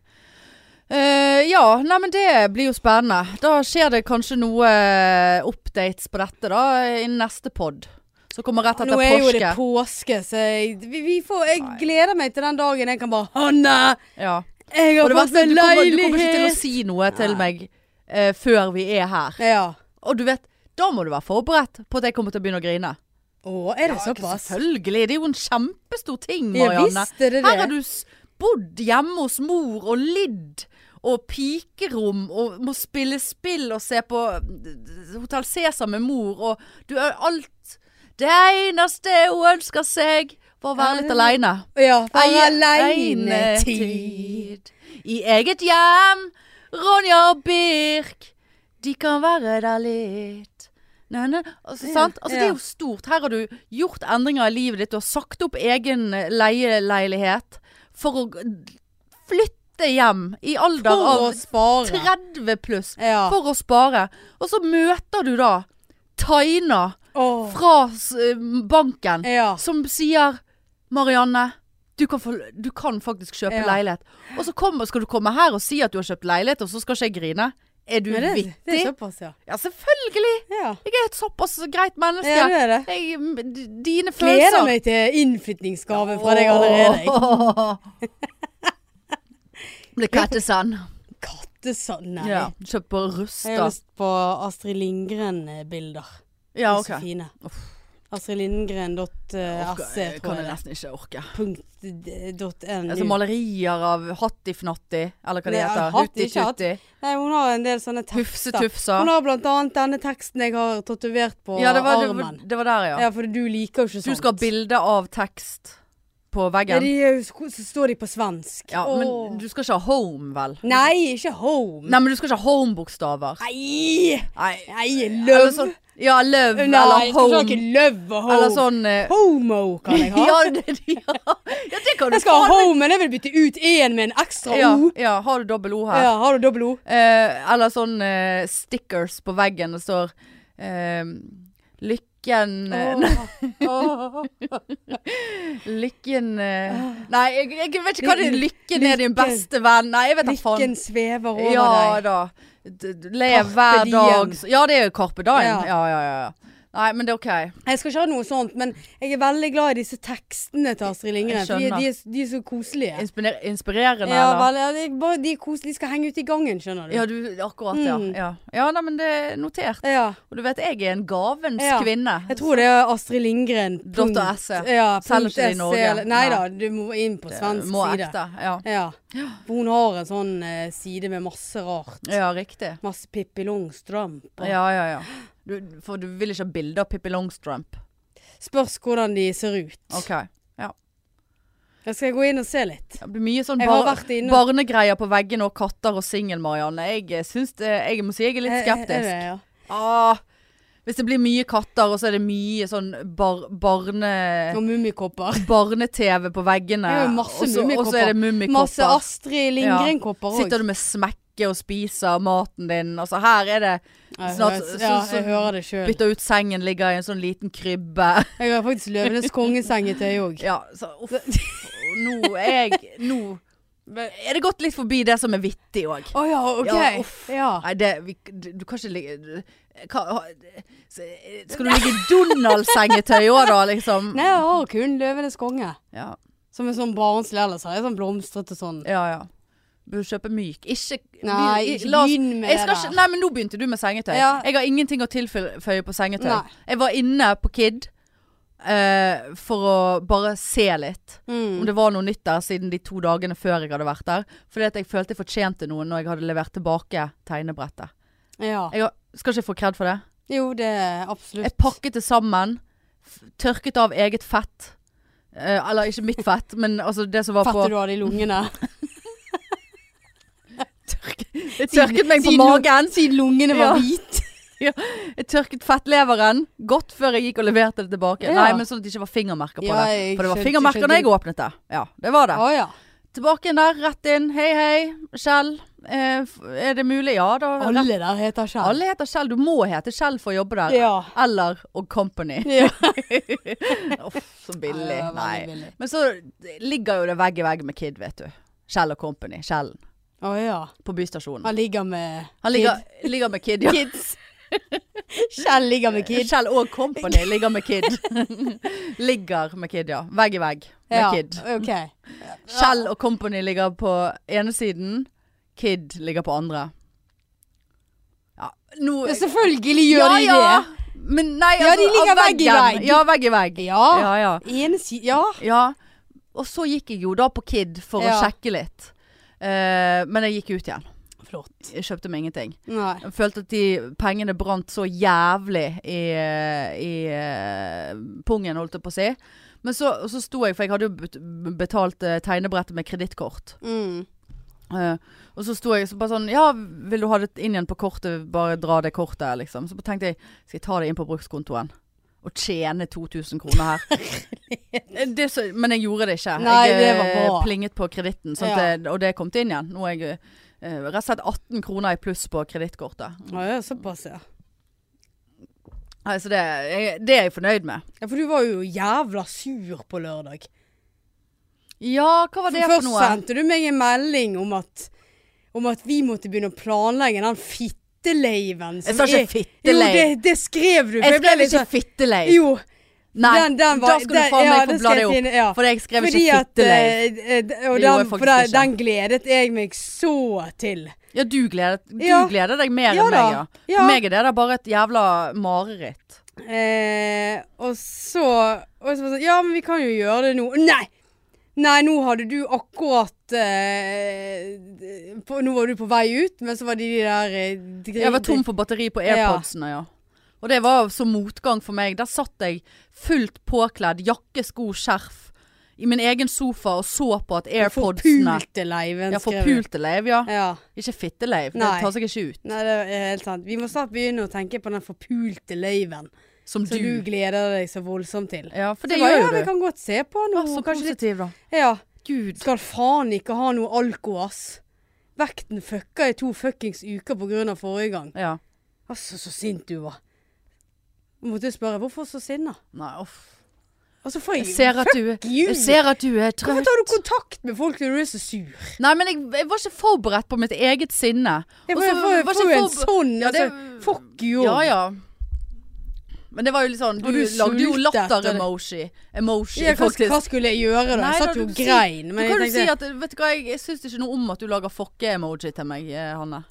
S1: Eh, ja, nei, men det blir jo spennende. Da skjer det kanskje noe eh, updates på dette da i neste pod. Som kommer rett etter
S2: Nå er jo det
S1: påske.
S2: påske, så jeg, vi, vi får, jeg gleder meg til den dagen jeg kan bare 'Hanne,
S1: ja.
S2: jeg
S1: Og
S2: har
S1: det verste,
S2: fått meg
S1: du, kommer, du kommer ikke til å
S2: leilighet!'
S1: si noe til meg eh, før vi er her.
S2: Ja.
S1: Og du vet, da må du være forberedt på at jeg kommer til å begynne å grine.
S2: Å, er
S1: Ja,
S2: det
S1: ikke
S2: såpass?
S1: Selvfølgelig. Det er jo en kjempestor ting,
S2: Ja
S1: Marianne.
S2: visst er det
S1: Her har
S2: det.
S1: du s- bodd hjemme hos mor og lidd og pikerom og må spille spill og se på eh, Hotell Cæsar med mor og du er alt Det eneste hun ønsker seg, var å være litt
S2: Ja, det-
S1: aleine.
S2: Ja, for aleinetid.
S1: I eget hjem, Ronja og Birk. De kan være der litt. Nei, nei. Altså,
S2: Ja,
S1: sant? Altså, Det
S2: ja.
S1: er jo stort. Her har du gjort endringer i livet ditt. Du har sagt opp egen eh, leieleilighet for å g- flytte hjem i alder
S2: For å
S1: av
S2: spare.
S1: 30 pluss.
S2: Ja.
S1: For å spare. Og så møter du da Taina
S2: Åh.
S1: fra s- eh, banken
S2: Ja.
S1: som sier Marianne, du kan, få, du kan faktisk kjøpe
S2: Ja.
S1: leilighet. Og så kommer, skal du komme her og si at du har kjøpt leilighet, og så skal ikke jeg grine. Er du
S2: Men det, det
S1: vittig?
S2: er såpass, ja.
S1: Ja, selvfølgelig!
S2: Ja,
S1: Jeg er et såpass greit menneske.
S2: ja du er det.
S1: jeg, m- d- dine
S2: Gleder
S1: følelser
S2: meg til innflytningsgave fra deg allerede. jeg.
S1: <laughs> Blir kattesand.
S2: Kattesand, nei.
S1: Ja, kjøpt på
S2: Jeg har
S1: Rusta.
S2: lyst på Astrid Lindgren-bilder.
S1: Ja,
S2: De er
S1: ok.
S2: Så fine.
S1: Uff.
S2: Astrid Lindgren.se,
S1: Orker-
S2: tror
S1: Kan jeg
S2: jeg.
S1: nesten ikke orke.
S2: Punkt d- dot NU.
S1: Altså malerier av Hattifnatti, eller hva det
S2: Nei,
S1: heter.
S2: Hatti, ikke
S1: Hutti-tutti.
S2: Nei, hun har en del sånne tekster.
S1: Hufse-tufsa.
S2: Hun har blant annet denne teksten jeg har tatovert på
S1: Ja, det var, det, var,
S2: armen.
S1: det var der, ja.
S2: Ja, for du liker jo ikke
S1: Du
S2: sånt.
S1: skal ha bilde av tekst på
S2: ja,
S1: veggen.
S2: de er jo, sk- Så står de på svensk.
S1: Ja,
S2: Åh.
S1: men du skal ikke ha home, vel?
S2: Nei, ikke home.
S1: Nei, men du skal ikke ha home-bokstaver.
S2: Nei!
S1: Nei.
S2: Nei,
S1: Eller
S2: løv.
S1: sånn Ja, love
S2: Nei,
S1: eller
S2: jeg skal
S1: home.
S2: ikke løv og home.
S1: Eller sånn eh,
S2: Homo kan jeg ha.
S1: <laughs> ja, det, ja. ja, det kan du
S2: Jeg skal ha
S1: faen meg-
S2: home, men jeg vil bytte ut én med en ekstra
S1: Ja,
S2: O.
S1: ja, har du dobbel O her?
S2: Ja, har du dobbel O?
S1: Eh, eller sånn eh, stickers på veggen det står eh, Lykken eh, <laughs>
S2: Åh.
S1: Lykken eh, Nei, jeg, jeg vet ikke hva det er.
S2: Ly-
S1: Lykken er din
S2: Ah. lykken.
S1: beste venn. Nei, jeg vet da faen.
S2: Lykken svever over
S1: Ja
S2: deg.
S1: da. D- d- Lev
S2: Carpe
S1: hver
S2: diem.
S1: dag. s- Ja, det er jo Carpe Diem.
S2: Ja.
S1: Ja. Ja, ja, ja. Nei, men det er OK.
S2: Jeg skal ikke ha noe sånt, men jeg er veldig glad i disse tekstene til Astrid Lindgren.
S1: Jeg
S2: fordi
S1: skjønner.
S2: De, er, de er så koselige.
S1: Inspire- inspirerende,
S2: Ja,
S1: eller?
S2: vel, ja, de, bare, de, er koselige. de skal henge ut i gangen, skjønner du.
S1: Ja, du, akkurat, ja.
S2: Mm.
S1: Ja, ja nei, men det er notert.
S2: Ja.
S1: Og du vet, jeg er en gavens
S2: Ja.
S1: kvinne.
S2: Jeg tror det er Astrid Lindgren. punkt-
S1: Dot SE.
S2: Ja,
S1: Selger
S2: punkt
S1: ikke det i
S2: SE,
S1: Norge.
S2: eller-
S1: Nei.
S2: Nei da, du må inn på svensk
S1: Må
S2: side.
S1: ekte. Ja. <gasps>
S2: Ja. For hun har en sånn eh, side med masse rart.
S1: ja, riktig.
S2: Masse Pippi Longstrump. og-
S1: Ja, ja, ja. Du, for du vil ikke ha bilde av Pippi Longstrump.
S2: Spørs hvordan de ser ut.
S1: OK.
S2: Jeg skal gå inn og se litt.
S1: Det blir mye sånn
S2: Jeg har
S1: bar
S2: vært inne og
S1: barnegreier på veggene og katter og singel-Marianne. Jeg, eh, syns det- jeg må si jeg er litt skeptisk.
S2: Er det, Eh, ja?
S1: Ah, hvis det blir mye katter, og så er det mye sånn bar barne...
S2: Og mummikopper.
S1: Barne-TV på veggene.
S2: Det er jo masse
S1: og så-
S2: mummikopper.
S1: Og så er det <laughs>
S2: Masse
S1: mummikopper.
S2: Astrid Lindgren-kopper òg.
S1: Sitter du med smekke og spiser maten din. Altså her er det snart-
S2: ja,
S1: så- så-
S2: jeg hører det sjøl.
S1: Bytter ut sengen, ligger i en sånn liten
S2: <laughs>
S1: krybbe.
S2: Jeg har faktisk Løvenes kongesengetøy òg.
S1: <laughs> Ja, så uff. Nå er jeg Nå er det gått litt forbi det som er vittig òg.
S2: Å ja, OK.
S1: Ja,
S2: Ja,
S1: uff. Nei, det vi, Du kan ikke ligge du- hva, ha- så- Skal du ligge i Donald-sengetøy òg, da, liksom?
S2: Nei, jeg har kun Løvenes konge.
S1: Ja.
S2: Som en sånn barnslig ellers. har Jeg sånn blomstrete sånn.
S1: Ja, ja. Bør kjøpe myk. Ikke vi-
S2: Nei,
S1: i-
S2: ikke
S1: la oss-
S2: begynn med
S1: jeg
S2: det
S1: skal
S2: der.
S1: Ikke, nei, men nå begynte du med sengetøy.
S2: Ja.
S1: Jeg har ingenting å tilføye på sengetøy.
S2: Nei.
S1: Jeg var inne på Kid eh, for å bare se litt. Om
S2: Mm.
S1: det var noe nytt der siden de to dagene før jeg hadde vært der. Fordi at jeg følte jeg fortjente noe når jeg hadde levert tilbake tegnebrettet.
S2: Ja.
S1: Jeg har, skal ikke få kred for det.
S2: Jo, det er absolutt.
S1: Jeg pakket det sammen. f- Tørket av eget fett. Eh, eller ikke mitt fett, men altså det som var på
S2: Fettet du
S1: <laughs>
S2: hadde i lungene.
S1: Jeg tørket meg på magen.
S2: Siden lungene var
S1: Ja.
S2: hvite.
S1: ja, jeg tørket fettleveren godt før jeg gikk og leverte det tilbake.
S2: Ja.
S1: Nei, men sånn at det ikke var fingermerker på
S2: <laughs> Ja,
S1: det.
S2: jeg
S1: For det var
S2: skjønte-
S1: fingermerker
S2: skjønte-
S1: da jeg åpnet det. Ja, det var det.
S2: Å ja.
S1: Tilbake igjen der, rett inn. Hei, hei, Kjell. Eh, f- er det mulig? Ja da. Rett-
S2: Alle der heter Kjell.
S1: Alle heter Kjell. Du må hete Kjell for å jobbe der.
S2: Ja.
S1: <laughs> Eller Og Company.
S2: <laughs> ja.
S1: Uff, så billig.
S2: Ja, det var veldig
S1: Nei.
S2: billig.
S1: Men så ligger jo det vegg i vegg med Kid, vet du. Kjell og Company. Kjellen.
S2: Å ja.
S1: På Bystasjonen.
S2: Han ligger med
S1: Han ligger, ligger med Kid, ja.
S2: Kids. Kjell ligger med kids.
S1: Kjell og
S2: <laughs>
S1: Company ligger med Kid. <laughs> ligger med Kid, ja. Vegg i vegg med Kid. <laughs>
S2: OK.
S1: Kjell og Company ligger på ene siden. Kid ligger på andre. Ja, nå
S2: Ja, selvfølgelig gjør de
S1: ja. Men nei, altså,
S2: Ja, de ligger
S1: av
S2: vegg i
S1: veggen.
S2: vegg.
S1: Ja, vegg i vegg.
S2: det. Ja.
S1: ja. ja.
S2: En si... Ja.
S1: Ja. Og så gikk jeg jo da på Kid for å
S2: Ja.
S1: sjekke litt. Eh, men jeg gikk ut igjen.
S2: Flott.
S1: Jeg kjøpte meg ingenting.
S2: Nei.
S1: Jeg følte at de pengene brant så jævlig i, i eh, pungen, holdt jeg på å si. Men så, og så sto jeg, for jeg hadde jo bet- betalt eh, tegnebrettet med kredittkort.
S2: Mm.
S1: Eh, og så sto jeg så bare sånn Ja, vil du ha det inn igjen på kortet? Bare dra det kortet, liksom. Så bare tenkte jeg skal jeg ta det inn på brukskontoen og tjene 2000
S2: <laughs>
S1: kroner her. det, er så, men jeg gjorde det ikke.
S2: Nei,
S1: jeg
S2: det var
S1: eh,
S2: bra.
S1: plinget på kreditten, sånn at det- og det kom inn igjen. Nå er jeg eh, rett og slett 18 kroner i pluss på kredittkortet.
S2: Ja, ja, såpass, ja.
S1: Nei, Så det, jeg, det er jeg fornøyd med.
S2: ja. For du var jo jævla sur på lørdag.
S1: Ja, hva var det for,
S2: Først
S1: noe?
S2: sendte du meg en melding om at, om at vi måtte begynne å planlegge den fitteleiven.
S1: Jeg
S2: som
S1: sa ikke
S2: er-
S1: fitteleiv.
S2: Jo, det, det skrev du. for
S1: Jeg
S2: ble
S1: skrev
S2: litt
S1: ikke
S2: sånn-
S1: fittelei.
S2: Jo,
S1: Nei,
S2: den, den var,
S1: da skal du
S2: den-
S1: faen
S2: ja,
S1: meg få
S2: det
S1: bla
S2: skal
S1: det
S2: jeg
S1: opp.
S2: finne, ja.
S1: For jeg skrev
S2: Fordi
S1: ikke
S2: at
S1: fittelei.
S2: eh, eh, d- Og
S1: Det gjorde jeg
S2: den,
S1: faktisk
S2: for den,
S1: ikke.
S2: den gledet jeg meg så til.
S1: Ja, du gleder, du
S2: Ja.
S1: gleder deg mer
S2: Ja
S1: enn
S2: da.
S1: meg, ja.
S2: Ja.
S1: For meg er det da bare et jævla mareritt.
S2: Eh, og så Og så var det sånn Ja, men vi kan jo gjøre det nå. Nei! Nei, nå hadde du akkurat eh, på, Nå var du på vei ut, men så var de de der eh, dri-
S1: Jeg var tom for batteri på airpodsene, ja. Og det var så motgang for meg. Der satt jeg fullt påkledd, jakke, sko, skjerf, i min egen sofa og så på at airpodsene
S2: Forpulte leiven,
S1: Ja,
S2: skrev jeg.
S1: forpulte leiv, ja.
S2: Ja.
S1: Ikke fitteleiv. Det
S2: Nei.
S1: tar seg ikke ut.
S2: Nei, det er helt sant. Vi må snart begynne å tenke på den forpulte løyven
S1: Som
S2: som
S1: du.
S2: du gleder deg så voldsomt til.
S1: Ja, for det
S2: Så bare,
S1: gjør
S2: ja, vi
S1: jo du.
S2: kan godt se på
S1: Å,
S2: noe.
S1: så
S2: kanskje litt
S1: positiv, da.
S2: Ja.
S1: Gud.
S2: Skal faen ikke ha noe alko, ass. Vekten fucka i to fuckings uker på grunn av forrige gang.
S1: Ja.
S2: Altså, så sint du var. Jeg måtte spørre, hvorfor så sinna?
S1: Nei, uff.
S2: Og så får jeg,
S1: Jeg ser at du,
S2: Fuck you!
S1: jeg ser at du er trøtt.
S2: Hvorfor tar du kontakt med folk når du er så sur?
S1: Nei, men jeg, jeg var ikke forberedt på mitt eget sinne.
S2: Jeg
S1: Og
S2: får,
S1: så
S2: jeg får, jeg
S1: var
S2: får
S1: ikke
S2: jo en
S1: forber-
S2: sånn
S1: Ja, det-
S2: altså, Fuck you.
S1: Ja, ja. Men det var jo litt sånn Du,
S2: Og du
S1: lagde jo
S2: sultet,
S1: latter-emoji. Emoji,
S2: Ja, hva,
S1: faktisk.
S2: hva skulle jeg gjøre da?
S1: Nei,
S2: Jeg
S1: da,
S2: satt jo
S1: du
S2: og
S1: sier-
S2: grein.
S1: da
S2: Men
S1: kan
S2: jeg
S1: du si
S2: tenkte
S1: at Vet du hva, jeg, jeg syns ikke noe om at du lager fokke-emoji til meg, eh, Hanne.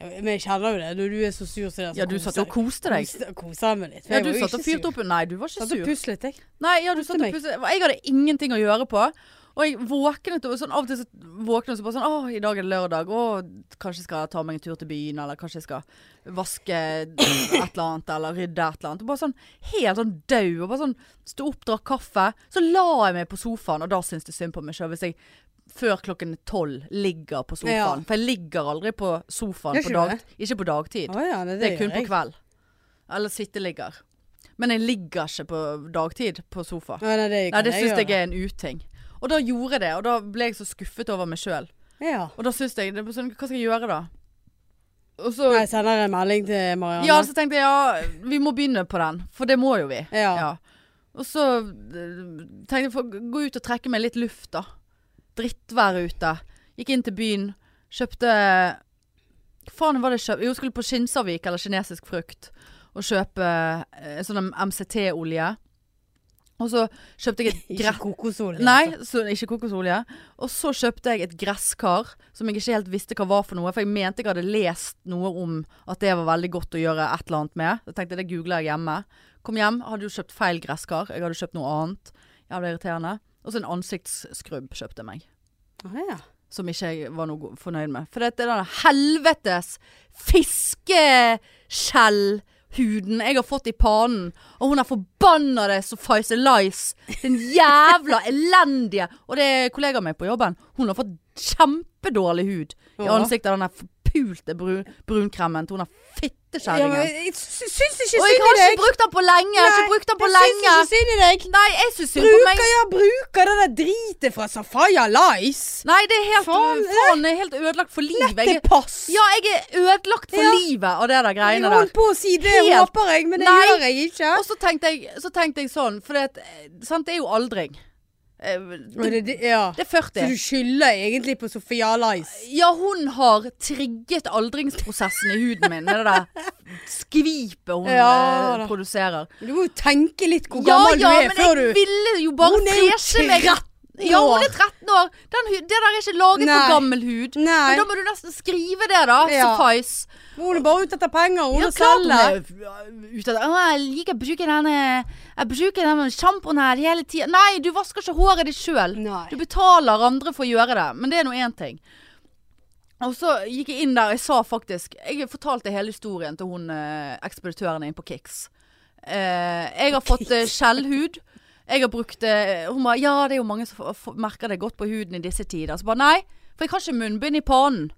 S2: Men jeg kjenner jo det. Når du er så sur, Altså, så er det
S1: Ja, du satt og koste deg.
S2: deg. Koser jeg meg litt. for
S1: Ja,
S2: jeg
S1: du
S2: var jo
S1: satt og
S2: ikke sur.
S1: fyrte opp Nei, du var ikke
S2: Satt og
S1: sur.
S2: puslet, jeg.
S1: Nei, ja, du satt og
S2: meg.
S1: pusset. Jeg hadde ingenting å gjøre på. Og jeg våknet og sånn, av og til så våknet jeg og så bare sånn Å, i dag er det lørdag. Å, kanskje jeg skal ta meg en tur til byen, eller kanskje jeg skal vaske et eller annet, eller rydde et eller annet. Og bare sånn helt sånn dau. Og bare sånn stå opp, drakk kaffe. Så la jeg meg på sofaen, og da syns det synd på meg sjøl hvis jeg før klokken tolv ligger på sofaen.
S2: Ja.
S1: For jeg ligger aldri på sofaen
S2: Gjør
S1: på
S2: ikke du
S1: dag, ikke på dagtid.
S2: Å ja, det,
S1: Det er kun
S2: gjør
S1: på
S2: jeg.
S1: kveld. Eller sitteligger. Men jeg ligger ikke på dagtid på sofa.
S2: Ja, nei, det,
S1: Nei, det syns jeg er en uting. Og da gjorde jeg det, og da ble jeg så skuffet over meg sjøl.
S2: Ja.
S1: Og da syns jeg det er bare sånn, Hva skal jeg gjøre da? Og så,
S2: Nei, Jeg sender en melding til Marianne.
S1: ja, altså- så tenkte jeg ja, vi må begynne på den. For det må jo vi.
S2: Ja.
S1: Og så eh, tenkte jeg for, gå ut og trekke meg litt luft, da. Drittvær ute. Gikk inn til byen, kjøpte Hva faen var det jeg kjøpte? Jo, skulle på Skinsarvik eller kinesisk frukt og kjøpe eh, sånn MCT-olje. Og så kjøpte jeg
S2: <laughs>
S1: et
S2: Ikke
S1: gress...
S2: kokosolje.
S1: Nei, så, ikke kokosolje. Og så kjøpte jeg et gresskar som jeg ikke helt visste hva var for noe. For jeg mente jeg hadde lest noe om at det var veldig godt å gjøre et eller annet med. Så tenkte jeg det googler jeg hjemme. Kom hjem, hadde jo kjøpt feil gresskar. Jeg hadde kjøpt noe annet. Jævlig irriterende. Og så en ansiktsskrubb kjøpte jeg meg.
S2: altså. Å, ja.
S1: Som ikke jeg var noe go- fornøyd med. For dette er den helvetes fiskeskjellhuden jeg har fått i panen. Og hun er forbanna det så Faise Lice. Den jævla elendige. Og det er kollegaen min på jobben. Hun har fått kjempedårlig hud i
S2: Ja.
S1: ansiktet av den der pult den brun, brunkremen til hun der
S2: Ja, men
S1: fittekjerringen.
S2: jeg sy- syns ikke
S1: og jeg
S2: synd i
S1: har
S2: deg.
S1: ikke brukt den på lenge! Jeg har ikke brukt den på
S2: Nei,
S1: lenge!
S2: Jeg syns ikke synd i deg.
S1: Nei, jeg syns synd på meg.
S2: Bruker, ja, bruker det der dritet fra Safaya Lice.
S1: Nei, det er helt,
S2: Faen,
S1: faen,
S2: det-
S1: jeg er helt ødelagt for livet. Jeg
S2: Dette
S1: er,
S2: pass.
S1: ja, jeg er ødelagt for
S2: Ja.
S1: livet av det der
S2: jeg
S1: greiene der.
S2: holdt på å si det,
S1: Helt-
S2: håper jeg, men det
S1: Nei.
S2: gjør jeg ikke.
S1: Og så tenkte jeg, så tenkte jeg sånn, for det, at, eh, sant, det er jo aldring. Eh,
S2: Men
S1: Det,
S2: det, det- ja.
S1: det er
S2: Så
S1: 40.
S2: du skylder egentlig på Sofia Lice?
S1: Ja, hun har trigget aldringsprosessen i huden min med det der skvipet hun
S2: <laughs> Ja,
S1: eh,
S2: da.
S1: produserer.
S2: Du må jo tenke litt hvor
S1: Ja,
S2: gammel
S1: ja,
S2: du er
S1: men
S2: før
S1: jeg
S2: du
S1: ville jo bare
S2: Hun er jo
S1: freshe meg.
S2: 13
S1: Ja, hun
S2: år.
S1: er 13 år. Den, hu- det der er ikke laget
S2: Nei.
S1: for gammel hud. Men
S2: Nei.
S1: da må du nesten skrive det, da.
S2: Ja.
S1: Suffice.
S2: Hun er bare ute etter penger. Hun
S1: Ja,
S2: er
S1: klart hun
S2: selge.
S1: er f- ute av det. Å, jeg liker å bruke denne Jeg bruker denne sjampoen her hele tida. Nei, du vasker ikke håret ditt sjøl.
S2: Nei.
S1: Du betaler andre for å gjøre det. Men det er nå én ting. Og så gikk jeg inn der, jeg sa faktisk Jeg fortalte hele historien til hun eh, ekspeditøren inn på Kix. Eh, jeg har fått eh, skjellhud. Jeg har brukt eh, Hun ba ja, det er jo mange som f- f- merker det godt på huden i disse tider. Så ba nei, for jeg har ikke munnbind i panen.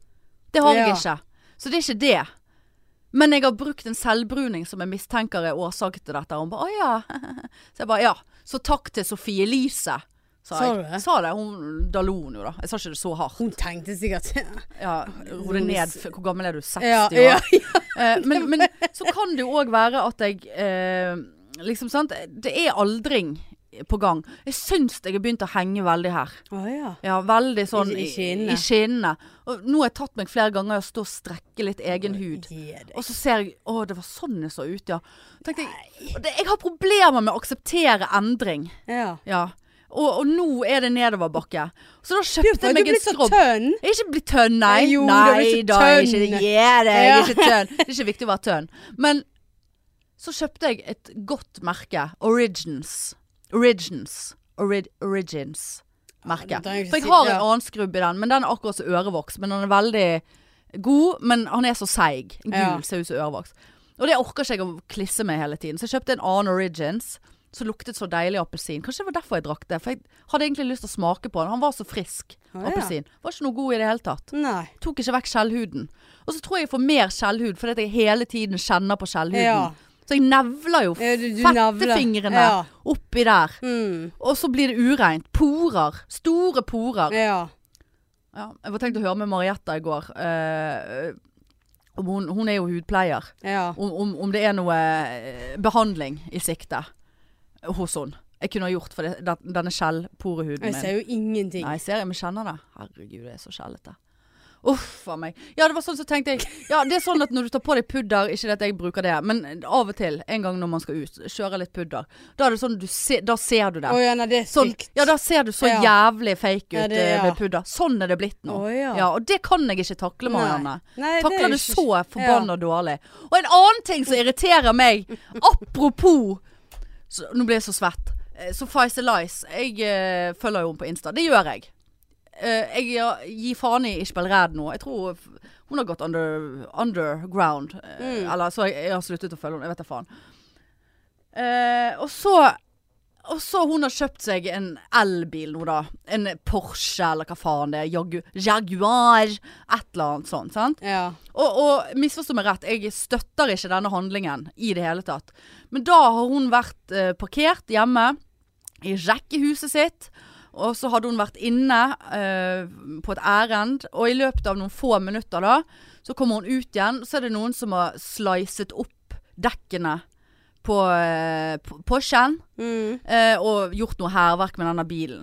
S1: Det har
S2: Ja.
S1: jeg ikke. Så det er ikke det. Men jeg har brukt en selvbruning som jeg mistenker er årsaken til dette. Og hun ba å ja. <laughs> Så jeg ba ja. Så takk til Sofie Elise. Sa,
S2: Sa du
S1: jeg.
S2: det?
S1: Sa det. Hun, da lo hun jo, da. Jeg sa ikke det så hardt.
S2: Hun tenkte sikkert
S1: Ja, ro det ned. F- Hvor gammel er du? 60
S2: ja,
S1: år? <laughs>
S2: ja,
S1: Eh, men, men så kan det jo òg være at jeg eh, Liksom, sant. Det er aldring på gang. Jeg syns jeg har begynt å henge veldig her.
S2: Å, ja.
S1: Ja, veldig sånn
S2: I- i skinnene.
S1: i skinnene. Og nå har jeg tatt meg flere ganger i å stå og strekke litt egen hud.
S2: Gi deg.
S1: Og så ser jeg Å, det var sånn jeg så ut, ja. Tenkte jeg, det, jeg har problemer med å akseptere endring.
S2: Ja.
S1: Ja. Og, og nå er det nedoverbakke. Så da
S2: Du,
S1: kjøpte
S2: for
S1: jeg
S2: du
S1: meg
S2: blir
S1: en
S2: så
S1: skrubb.
S2: tønn.
S1: Jeg er ikke blitt tønn, nei.
S2: Jo,
S1: nei
S2: du er ikke
S1: da, jeg er
S2: tønn.
S1: Ikke, yeah, det, jeg
S2: Ja.
S1: er ikke tønn. Det er ikke viktig å være tønn. Men så kjøpte jeg et godt merke. Origins. Origins. Orid, origins.
S2: Ja,
S1: Merke.
S2: det trenger jeg ikke
S1: For jeg
S2: si-
S1: har en
S2: ja.
S1: annen skrubb i den, men den er akkurat som ørevoks. Men den er veldig god, men han er så seig. Gul,
S2: Ja.
S1: ser ut som ørevoks. Og det orker ikke jeg å klisse med hele tiden. Så jeg kjøpte en annen Origins. Som luktet så deilig appelsin. Kanskje det var derfor jeg drakk det. For jeg hadde egentlig lyst til å smake på den. Han var så frisk.
S2: Å, ja.
S1: Appelsin. Var ikke noe god i det hele tatt.
S2: Nei.
S1: Tok ikke vekk skjellhuden. Og så tror jeg jeg får mer skjellhud fordi at jeg hele tiden kjenner på skjellhuden.
S2: Ja.
S1: Så jeg nevler jo
S2: Ja, du- du nevler.
S1: fettefingrene
S2: Ja.
S1: oppi der.
S2: Mm.
S1: Og så blir det ureint. Porer. Store porer.
S2: Ja.
S1: Ja, jeg var tenkt å høre med Marietta i går. eh, om hun, hun er jo hudpleier.
S2: Ja.
S1: Om, om, om det er noe eh, behandling i sikte hos hun. Jeg kunne ha gjort for det, den- denne skjellporehuden
S2: Jeg
S1: min.
S2: ser jo ingenting.
S1: Nei, jeg ser jeg, men kjenner det. Herregud, det er så skjellete. Uff a meg. Ja, det var sånn så tenkte jeg. Ja, det er sånn at når du tar på deg pudder, ikke det at jeg bruker det, men av og til, en gang når man skal ut, kjører litt pudder. Da er det sånn du ser, da ser du det.
S2: Å ja, nei, det er
S1: Sånn,
S2: sykt.
S1: ja, da ser du så
S2: Ja.
S1: jævlig fake ut
S2: Ja, det-
S1: eh,
S2: ja.
S1: med pudder. Sånn er det blitt nå.
S2: Å, ja.
S1: og det kan jeg ikke takle, Marianne.
S2: Nei, det er
S1: Takler det
S2: ikke-
S1: så forbanna dårlig. Og en annen ting som irriterer meg, apropos så, Nå ble jeg så svett. Eh, Så Pfizer Lice, jeg eh, følger jo henne på Insta. Det gjør jeg. Eh, jeg ja, gir faen i Ishbel Red nå. Jeg tror f- hun har gått under, underground. eh,
S2: Mm.
S1: Eller så har jeg, jeg har sluttet å følge henne. Jeg vet da faen. Eh, og så og så hun har kjøpt seg en elbil nå, da. En Porsche eller hva faen det er. Jagu Jaguar. Et eller annet sånt. sant?
S2: Ja.
S1: Og, og misforstå meg rett, jeg støtter ikke denne handlingen i det hele tatt. Men da har hun vært eh, parkert hjemme i rekkehuset sitt. Og så hadde hun vært inne eh, på et ærend, og i løpet av noen få minutter da, så kommer hun ut igjen, så er det noen som har slicet opp dekkene på eh, på- Porschen
S2: Mm.
S1: eh, og gjort noe hærverk med denne bilen.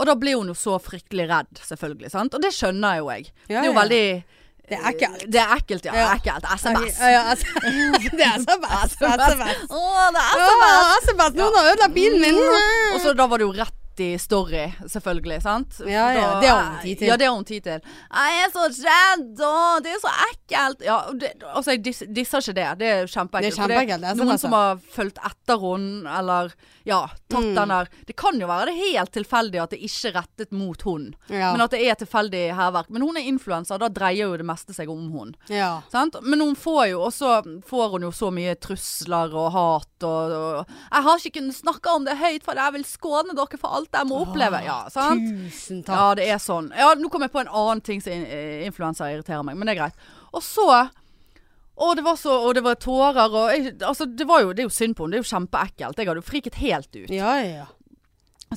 S1: Og da blir hun jo så fryktelig redd, selvfølgelig. sant? Og det skjønner jo jeg. det
S2: Ja,
S1: er jo
S2: ja.
S1: veldig eh,
S2: Det er ekkelt.
S1: det er ekkelt, ja.
S2: Ja.
S1: Ekkelt. SMS.
S2: Ja, ja,
S1: <laughs>
S2: altså, <laughs> det er altså, SMS. SMS.
S1: Altså, Å, det er SMS!
S2: Åh, SMS. Noen har ødelagt bilen min.
S1: Og så da var det jo rett i story, selvfølgelig. sant?
S2: Ja, ja,
S1: Da-
S2: det har hun tid til.
S1: Ja, det har hun tid til. Jeg er så redd, å, det er så ekkelt. Ja, og det, altså, jeg dis- disser ikke det. Det er kjempeekkelt.
S2: Det er
S1: for
S2: kjempeekkelt, det er sånn, altså.
S1: noen
S2: SMS.
S1: som har fulgt etter henne, eller ja, tatt
S2: Mm.
S1: den der Det kan jo være det er helt tilfeldig at det ikke er rettet mot hun.
S2: Ja.
S1: Men at det er tilfeldig hærverk. Men hun er influenser, da dreier jo det meste seg om hun.
S2: Ja.
S1: Sant? Men hun får jo Og så får hun jo så mye trusler og hat og, og Jeg har ikke kunnet snakke om det høyt, for jeg vil skåne dere for alt jeg må oppleve. Ja, sant?
S2: Ah, Tusen
S1: Ja,
S2: takk.
S1: det er sånn. Ja, nå kom jeg på en annen ting som in- eh, influensere irriterer meg, men det er greit. Og så og det var så, og det var tårer og jeg, altså, det, var jo, det er jo synd på henne, det er jo kjempeekkelt. Jeg hadde jo friket helt ut.
S2: Ja, ja, ja.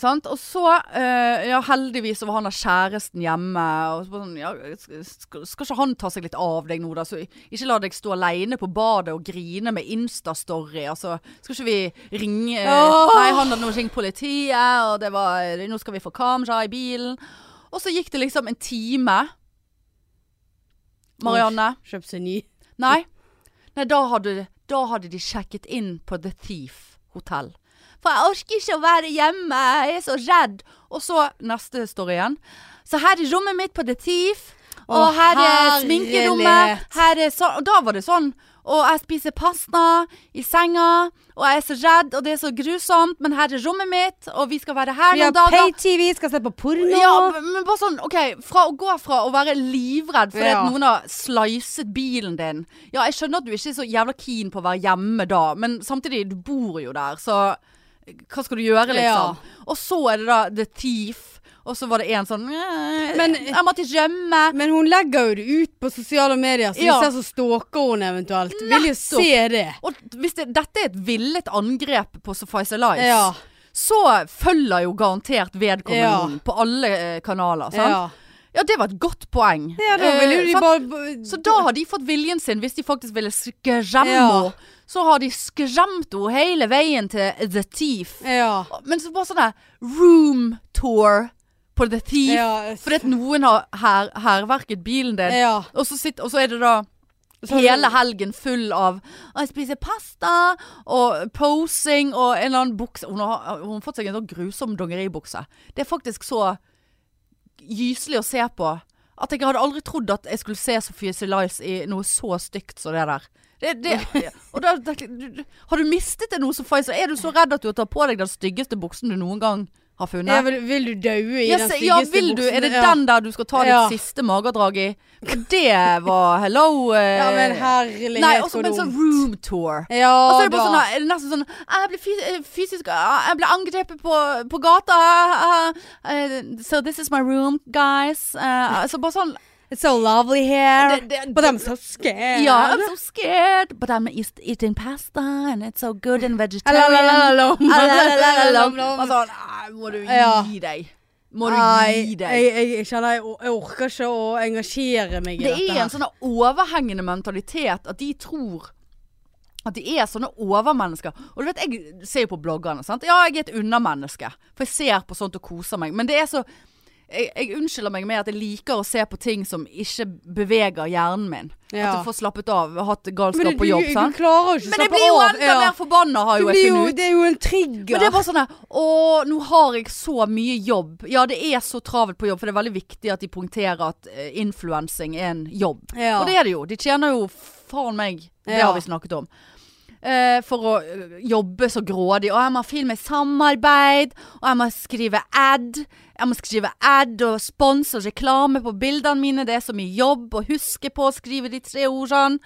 S1: Sant? Og så, eh, ja heldigvis så var han av kjæresten hjemme og så var det sånn, ja, sk- sk- Skal ikke han ta seg litt av deg nå da? Så ikke la deg stå alene på badet og grine med Instastory altså, Skal ikke vi ringe eh,
S2: Åh!
S1: Nei, han hadde nå ringt politiet Og det var, eh, nå skal vi få kamera i bilen Og så gikk det liksom en time Marianne
S2: Kjøpt seg ny.
S1: Nei, Nei da, hadde, da hadde de sjekket inn på The Thief hotell. For jeg orker ikke å være hjemme, jeg er så redd. Og så neste story igjen. Så her er rommet mitt på The Thief. Og
S2: Å,
S1: her er
S2: herlighet.
S1: sminkerommet. Her er så, og da var det sånn. Og jeg spiser pasta i senga, og jeg er så redd, og det er så grusomt, men her er rommet mitt, og vi skal være her
S2: Vi har
S1: noen dager.
S2: pay-TV, skal se på porno.
S1: Ja, b- men bare sånn, ok Fra å gå fra å være livredd Fordi
S2: Ja.
S1: at noen har slicet bilen din Ja, jeg skjønner at du ikke er så jævla keen på å være hjemme da Men samtidig, du bor jo der Så hva skal du gjøre liksom?
S2: Ja.
S1: Og så er det da The Thief Og så var det en sånn «Eh,
S2: Men-
S1: Jeg måtte rømme
S2: Men hun legger jo det ut på sosiale medier, så
S1: Ja.
S2: hvis jeg så stalker hun eventuelt, vil jo
S1: Nettopp.
S2: se det.
S1: Og hvis det, dette er et villet angrep på Suffice Alice
S2: Ja.
S1: Så følger jo garantert vedkommende
S2: Ja.
S1: henne På alle eh, kanaler, sant?
S2: Ja.
S1: Ja, det var et godt poeng
S2: ja, da vil jo
S1: Eh,
S2: de
S1: sant?
S2: bare
S1: Så da har de fått viljen sin, hvis de faktisk ville skremme henne.
S2: Ja.
S1: Så har de skremt henne hele veien til The Thief.
S2: Ja.
S1: Men så bare sånn der room tour på The Thief.
S2: Ja.
S1: Fordi at noen har her- hærverket bilen din.
S2: ja. sånn-
S1: Og, så sitter, og så er det da
S2: Så-
S1: hele helgen full av «Å, Jeg spiser pasta og posing og en eller annen bukse Hun har, hun har fått seg en sånn grusom dongeribukse. Det er faktisk så gyselig å se på at jeg hadde aldri trodd at jeg skulle se Sophie Silice i noe så stygt som det der. Det, det, og da, da, du- du- har du mistet det noe som Pfizer? Er du så redd at du har tatt på deg den styggeste buksen du noen gang har funnet?
S2: Ja, vil, vil du daue i
S1: Ja,
S2: den
S1: se-
S2: styggeste
S1: ja, vil du? Er det
S2: buksen?
S1: den der du skal ta ditt
S2: Ja.
S1: siste magedrag i? For det var hello eh,
S2: Ja, ja men herlighet,
S1: Nei, også
S2: hvor
S1: med en sånn
S2: dumt.
S1: room tour.
S2: Ja,
S1: Og så er det bare
S2: da.
S1: sånn, her, er det nesten sånn Jeg ble fys eh, fysisk ah, Jeg ble angrepet på, på gata. eh, eh, so this is my room, guys. Eh, så bare sånn
S2: It's so lovely here.
S1: Det- det-
S2: But I'm so scared.
S1: Ja, I'm so scared, but I'm east- eating pasta, and it's so good and vegetarian.
S2: Alalalalalam.
S1: Alalalalalam.
S2: Alalalalalam.
S1: Og sånn ah, Må du
S2: Ja.
S1: gi deg. Må du
S2: Nei,
S1: gi deg.
S2: jeg, jeg, jeg kjenner jeg, jeg orker ikke å engasjere meg i
S1: Det
S2: dette.
S1: er en sånn overhengende mentalitet at de tror at de er sånne overmennesker. Og du vet, jeg ser jo på bloggerne, sant. Ja, jeg er et undermenneske. For jeg ser på sånt og koser meg. Men det er så jeg, jeg unnskylder meg med at jeg liker å se på ting som ikke beveger hjernen min. At
S2: Ja.
S1: du får slappet av, hatt
S2: Men
S1: galskap
S2: du,
S1: på jobb,
S2: du,
S1: sant.
S2: du klarer jo ikke å
S1: Men jeg
S2: slappe
S1: blir jo
S2: av.
S1: enda mer forbanna, har
S2: Du
S1: jo jeg
S2: blir jo,
S1: funnet ut.
S2: det er jo en trigger.
S1: Men det er bare sånn der, Å, nå har jeg så mye jobb. Ja, det er så travelt på jobb, for det er veldig viktig at de punkterer at uh, influensing er en jobb.
S2: Ja.
S1: sånn- Og det er det jo. De tjener jo faen meg Det
S2: Ja.
S1: har vi snakket om. Eh, for å eh, jobbe så grådig. Og jeg må ha film med samarbeid, og jeg må skrive ad. Jeg må skrive ad og sponse og reklame på bildene mine. Det er så mye jobb å huske på å skrive de tre ordene.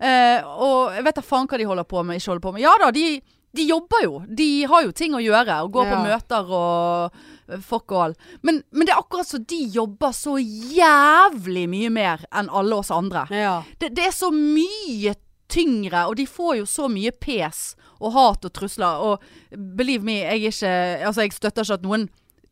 S1: Eh, og jeg vet da faen hva de holder på med, ikke holder på med. Ja da, de, de jobber jo. De har jo ting å gjøre. Og går på
S2: Ja.
S1: møter og eh, fuck all. Men, men det er akkurat så de jobber så jævlig mye mer enn alle oss andre.
S2: ja.
S1: Det, det er så mye tyngre, og de får jo så mye pes og hat og trusler. Og believe me, jeg, er ikke, altså jeg støtter ikke at noen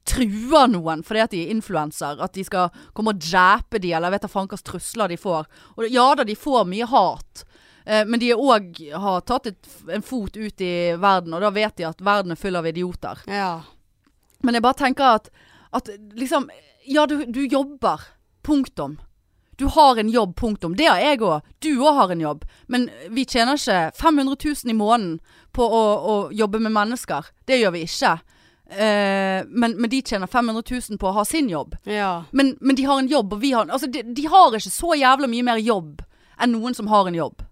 S1: truer noen fordi at de er influenser. At de skal komme og dræpe de, eller jeg vet da faen hva slags trusler de får. Og ja da, de får mye hat. eh, Men de er også- har tatt et, en fot ut i verden, og da vet de at verden er full av idioter.
S2: ja.
S1: Men jeg bare tenker at, at liksom Ja, du, du jobber. Punktum. Du har en jobb, punktum. Det har jeg òg. Du òg har en jobb. Men vi tjener ikke 500 000 i måneden på å, å jobbe med mennesker. Det gjør vi ikke. Eh, men, men de tjener 500 000 på å ha sin jobb.
S2: ja.
S1: Men, men de har en jobb, og vi har en Altså, de, de har ikke så jævla mye mer jobb enn noen som har en jobb.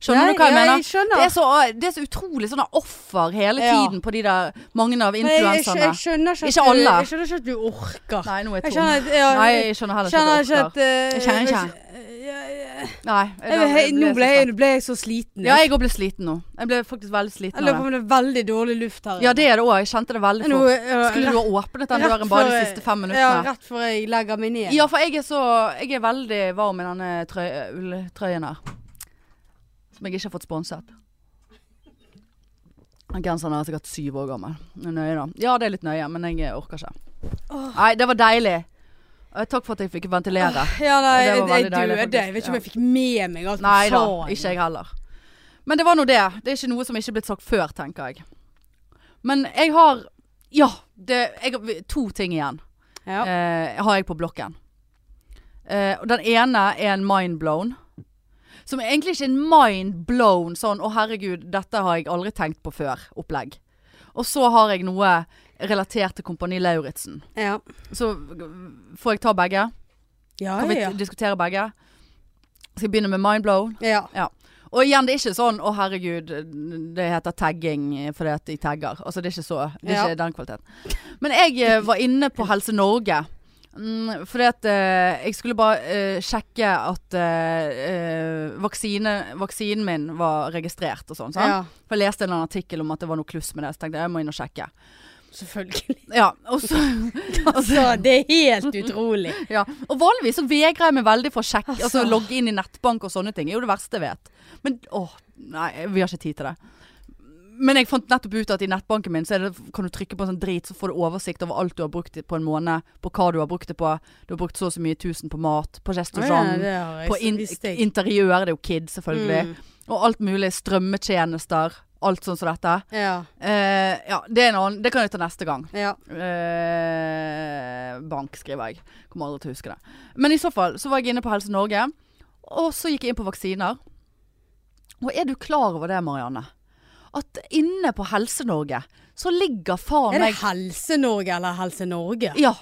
S1: Skjønner
S2: Nei,
S1: du hva jeg
S2: ja,
S1: mener?
S2: Jeg skjønner.
S1: Det er, så, det er så utrolig sånne offer hele
S2: Ja.
S1: tiden på de der mange av
S2: Men jeg, jeg,
S1: influenserne.
S2: jeg skjønner ikke at
S1: Ikke alle.
S2: Du, jeg skjønner ikke at du orker.
S1: Nei, nå er
S2: Jeg
S1: jeg tom.
S2: skjønner, at- ja,
S1: Nei, jeg skjønner heller
S2: Kjenner
S1: ikke
S2: ikke
S1: at
S2: at eh,
S1: Jeg kjenner ikke.
S2: Jeg, jeg,
S1: Nei.
S2: Jeg, jeg, nå ble jeg,
S1: jeg
S2: nå ble jeg så sliten.
S1: Ja, jeg òg ble sliten nå. Jeg ble faktisk veldig
S2: jeg
S1: sliten av
S2: lurer
S1: det.
S2: på om det er veldig dårlig luft her.
S1: Ja, det er det òg. Jeg kjente det veldig
S2: Nå,
S1: fort.
S2: ja,
S1: Skulle du
S2: rett-
S1: ha åpnet den
S2: rett
S1: døren bare
S2: før
S1: de
S2: jeg-
S1: siste fem
S2: Ja,
S1: minuttene?
S2: rett før jeg legger meg ned.
S1: Ja, for jeg er så Jeg er veldig varm i denne trøy, ulltrøyen her. Som jeg ikke har fått sponset. Den genseren er sikkert syv år gammel. Det er Nøye, da. Ja, det er litt nøye, men jeg orker ikke.
S2: Åh.
S1: Nei, det var deilig. Eh, Takk for at jeg fikk ventilere.
S2: Ja, nei,
S1: Ja, det
S2: jeg,
S1: var
S2: jeg
S1: veldig deilig,
S2: døde. Jeg vet
S1: faktisk.
S2: ikke om jeg fikk med meg alt du
S1: Nei da,
S2: sa.
S1: ikke jeg heller. Men det var nå det. Det er ikke noe som ikke er blitt sagt før, tenker jeg. Men jeg har Ja, det, jeg, har- to ting igjen.
S2: Ja.
S1: eh, har jeg på blokken. Eh, og den ene er en mindblown. Som egentlig ikke er en mindblown sånn 'Å, herregud, dette har jeg aldri tenkt på før'-opplegg. Og så har jeg noe relatert til Kompani Lauritzen.
S2: Ja.
S1: Så g- får jeg ta begge?
S2: Ja,
S1: Kan vi
S2: ja,
S1: diskutere begge? Skal jeg begynne med mindblown?
S2: ja.
S1: Og igjen, det er ikke sånn 'Å, herregud, det heter tagging fordi at de tagger'. Altså, det er ikke så Det er
S2: Ja.
S1: ikke den kvaliteten. Men jeg eh, var inne på Helse Norge. Mm, fordi at eh, jeg skulle bare eh, sjekke at eh, eh, vaksine, vaksinen min var registrert og sånn. sant?
S2: ja.
S1: For jeg leste en eller annen artikkel om at det var noe kluss med det, så tenkte jeg jeg må inn og sjekke.
S2: Selvfølgelig. <laughs>
S1: Ja, og så
S2: Altså, det er helt utrolig.
S1: Ja, og vanligvis så vegrer jeg meg veldig for å sjekke, altså,
S2: Altså.
S1: logge inn i nettbank og sånne ting. Det er jo det verste jeg vet. Men åh, nei, vi har ikke tid til det. Men jeg fant nettopp ut at i nettbanken min så er det, kan du trykke på en sånn drit, så får du oversikt over alt du har brukt på en måned, på hva du har brukt det på. Du har brukt så og så mye tusen på mat, på restaurant,
S2: det har
S1: sånn, på in
S2: visste jeg.
S1: interiør, det er jo kids selvfølgelig,
S2: Mm.
S1: og alt mulig, strømmetjenester, alt sånn som dette.
S2: Ja.
S1: Eh, ja, det, er en annen, det kan jeg ta neste gang.
S2: ja.
S1: Eh, bank, skriver jeg. Kommer aldri til å huske det. Men i så fall, så var jeg inne på Helse Norge, og så gikk jeg inn på vaksiner. Og er du klar over det, Marianne? At inne på Helse Norge så ligger faen Sånn
S2: Er det
S1: meg
S2: Helse-Norge eller Helse Norge?
S1: Ja.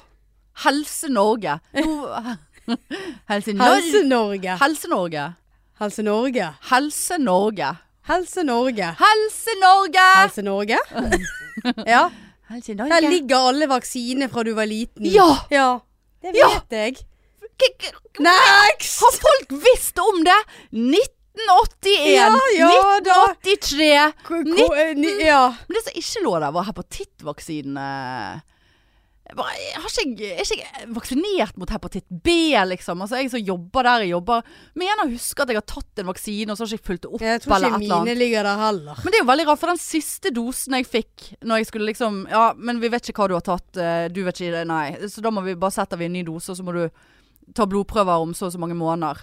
S1: Helse Norge. Nå- <laughs> Helse Norge.
S2: Helse-Norge.
S1: Helse Norge.
S2: Helse Norge.
S1: Helse Norge.
S2: Helse Norge.
S1: Helse Norge!
S2: Helse Norge. ja.
S1: Helse
S2: Der
S1: Norge.
S2: ligger alle vaksiner fra du var liten.
S1: Ja!
S2: ja. Det vet
S1: Ja.
S2: jeg.
S1: K- k-
S2: Next!
S1: Har folk visst om det? 1981,
S2: Ja, ja da.
S1: 1983
S2: Ko- ko- eh, ni- Ja.
S1: Men det som ikke lå der, var hepatittvaksinen. Jeg bare- jeg har ikke, jeg- er ikke jeg vaksinert mot hepatitt B, liksom? Altså, jeg som jobber der jeg jobber, mener å huske at jeg har tatt en vaksine, og så har ikke jeg fulgt det opp
S2: Jeg tror
S1: eller
S2: ikke
S1: et eller annet.
S2: mine ligger der heller.
S1: Men det er jo veldig rart, for den siste dosen jeg fikk når jeg skulle liksom Ja, men vi vet ikke hva du har tatt, eh, du vet ikke det, nei. Så da må vi bare sette vi en ny dose, og så må du ta blodprøver om så og så mange måneder.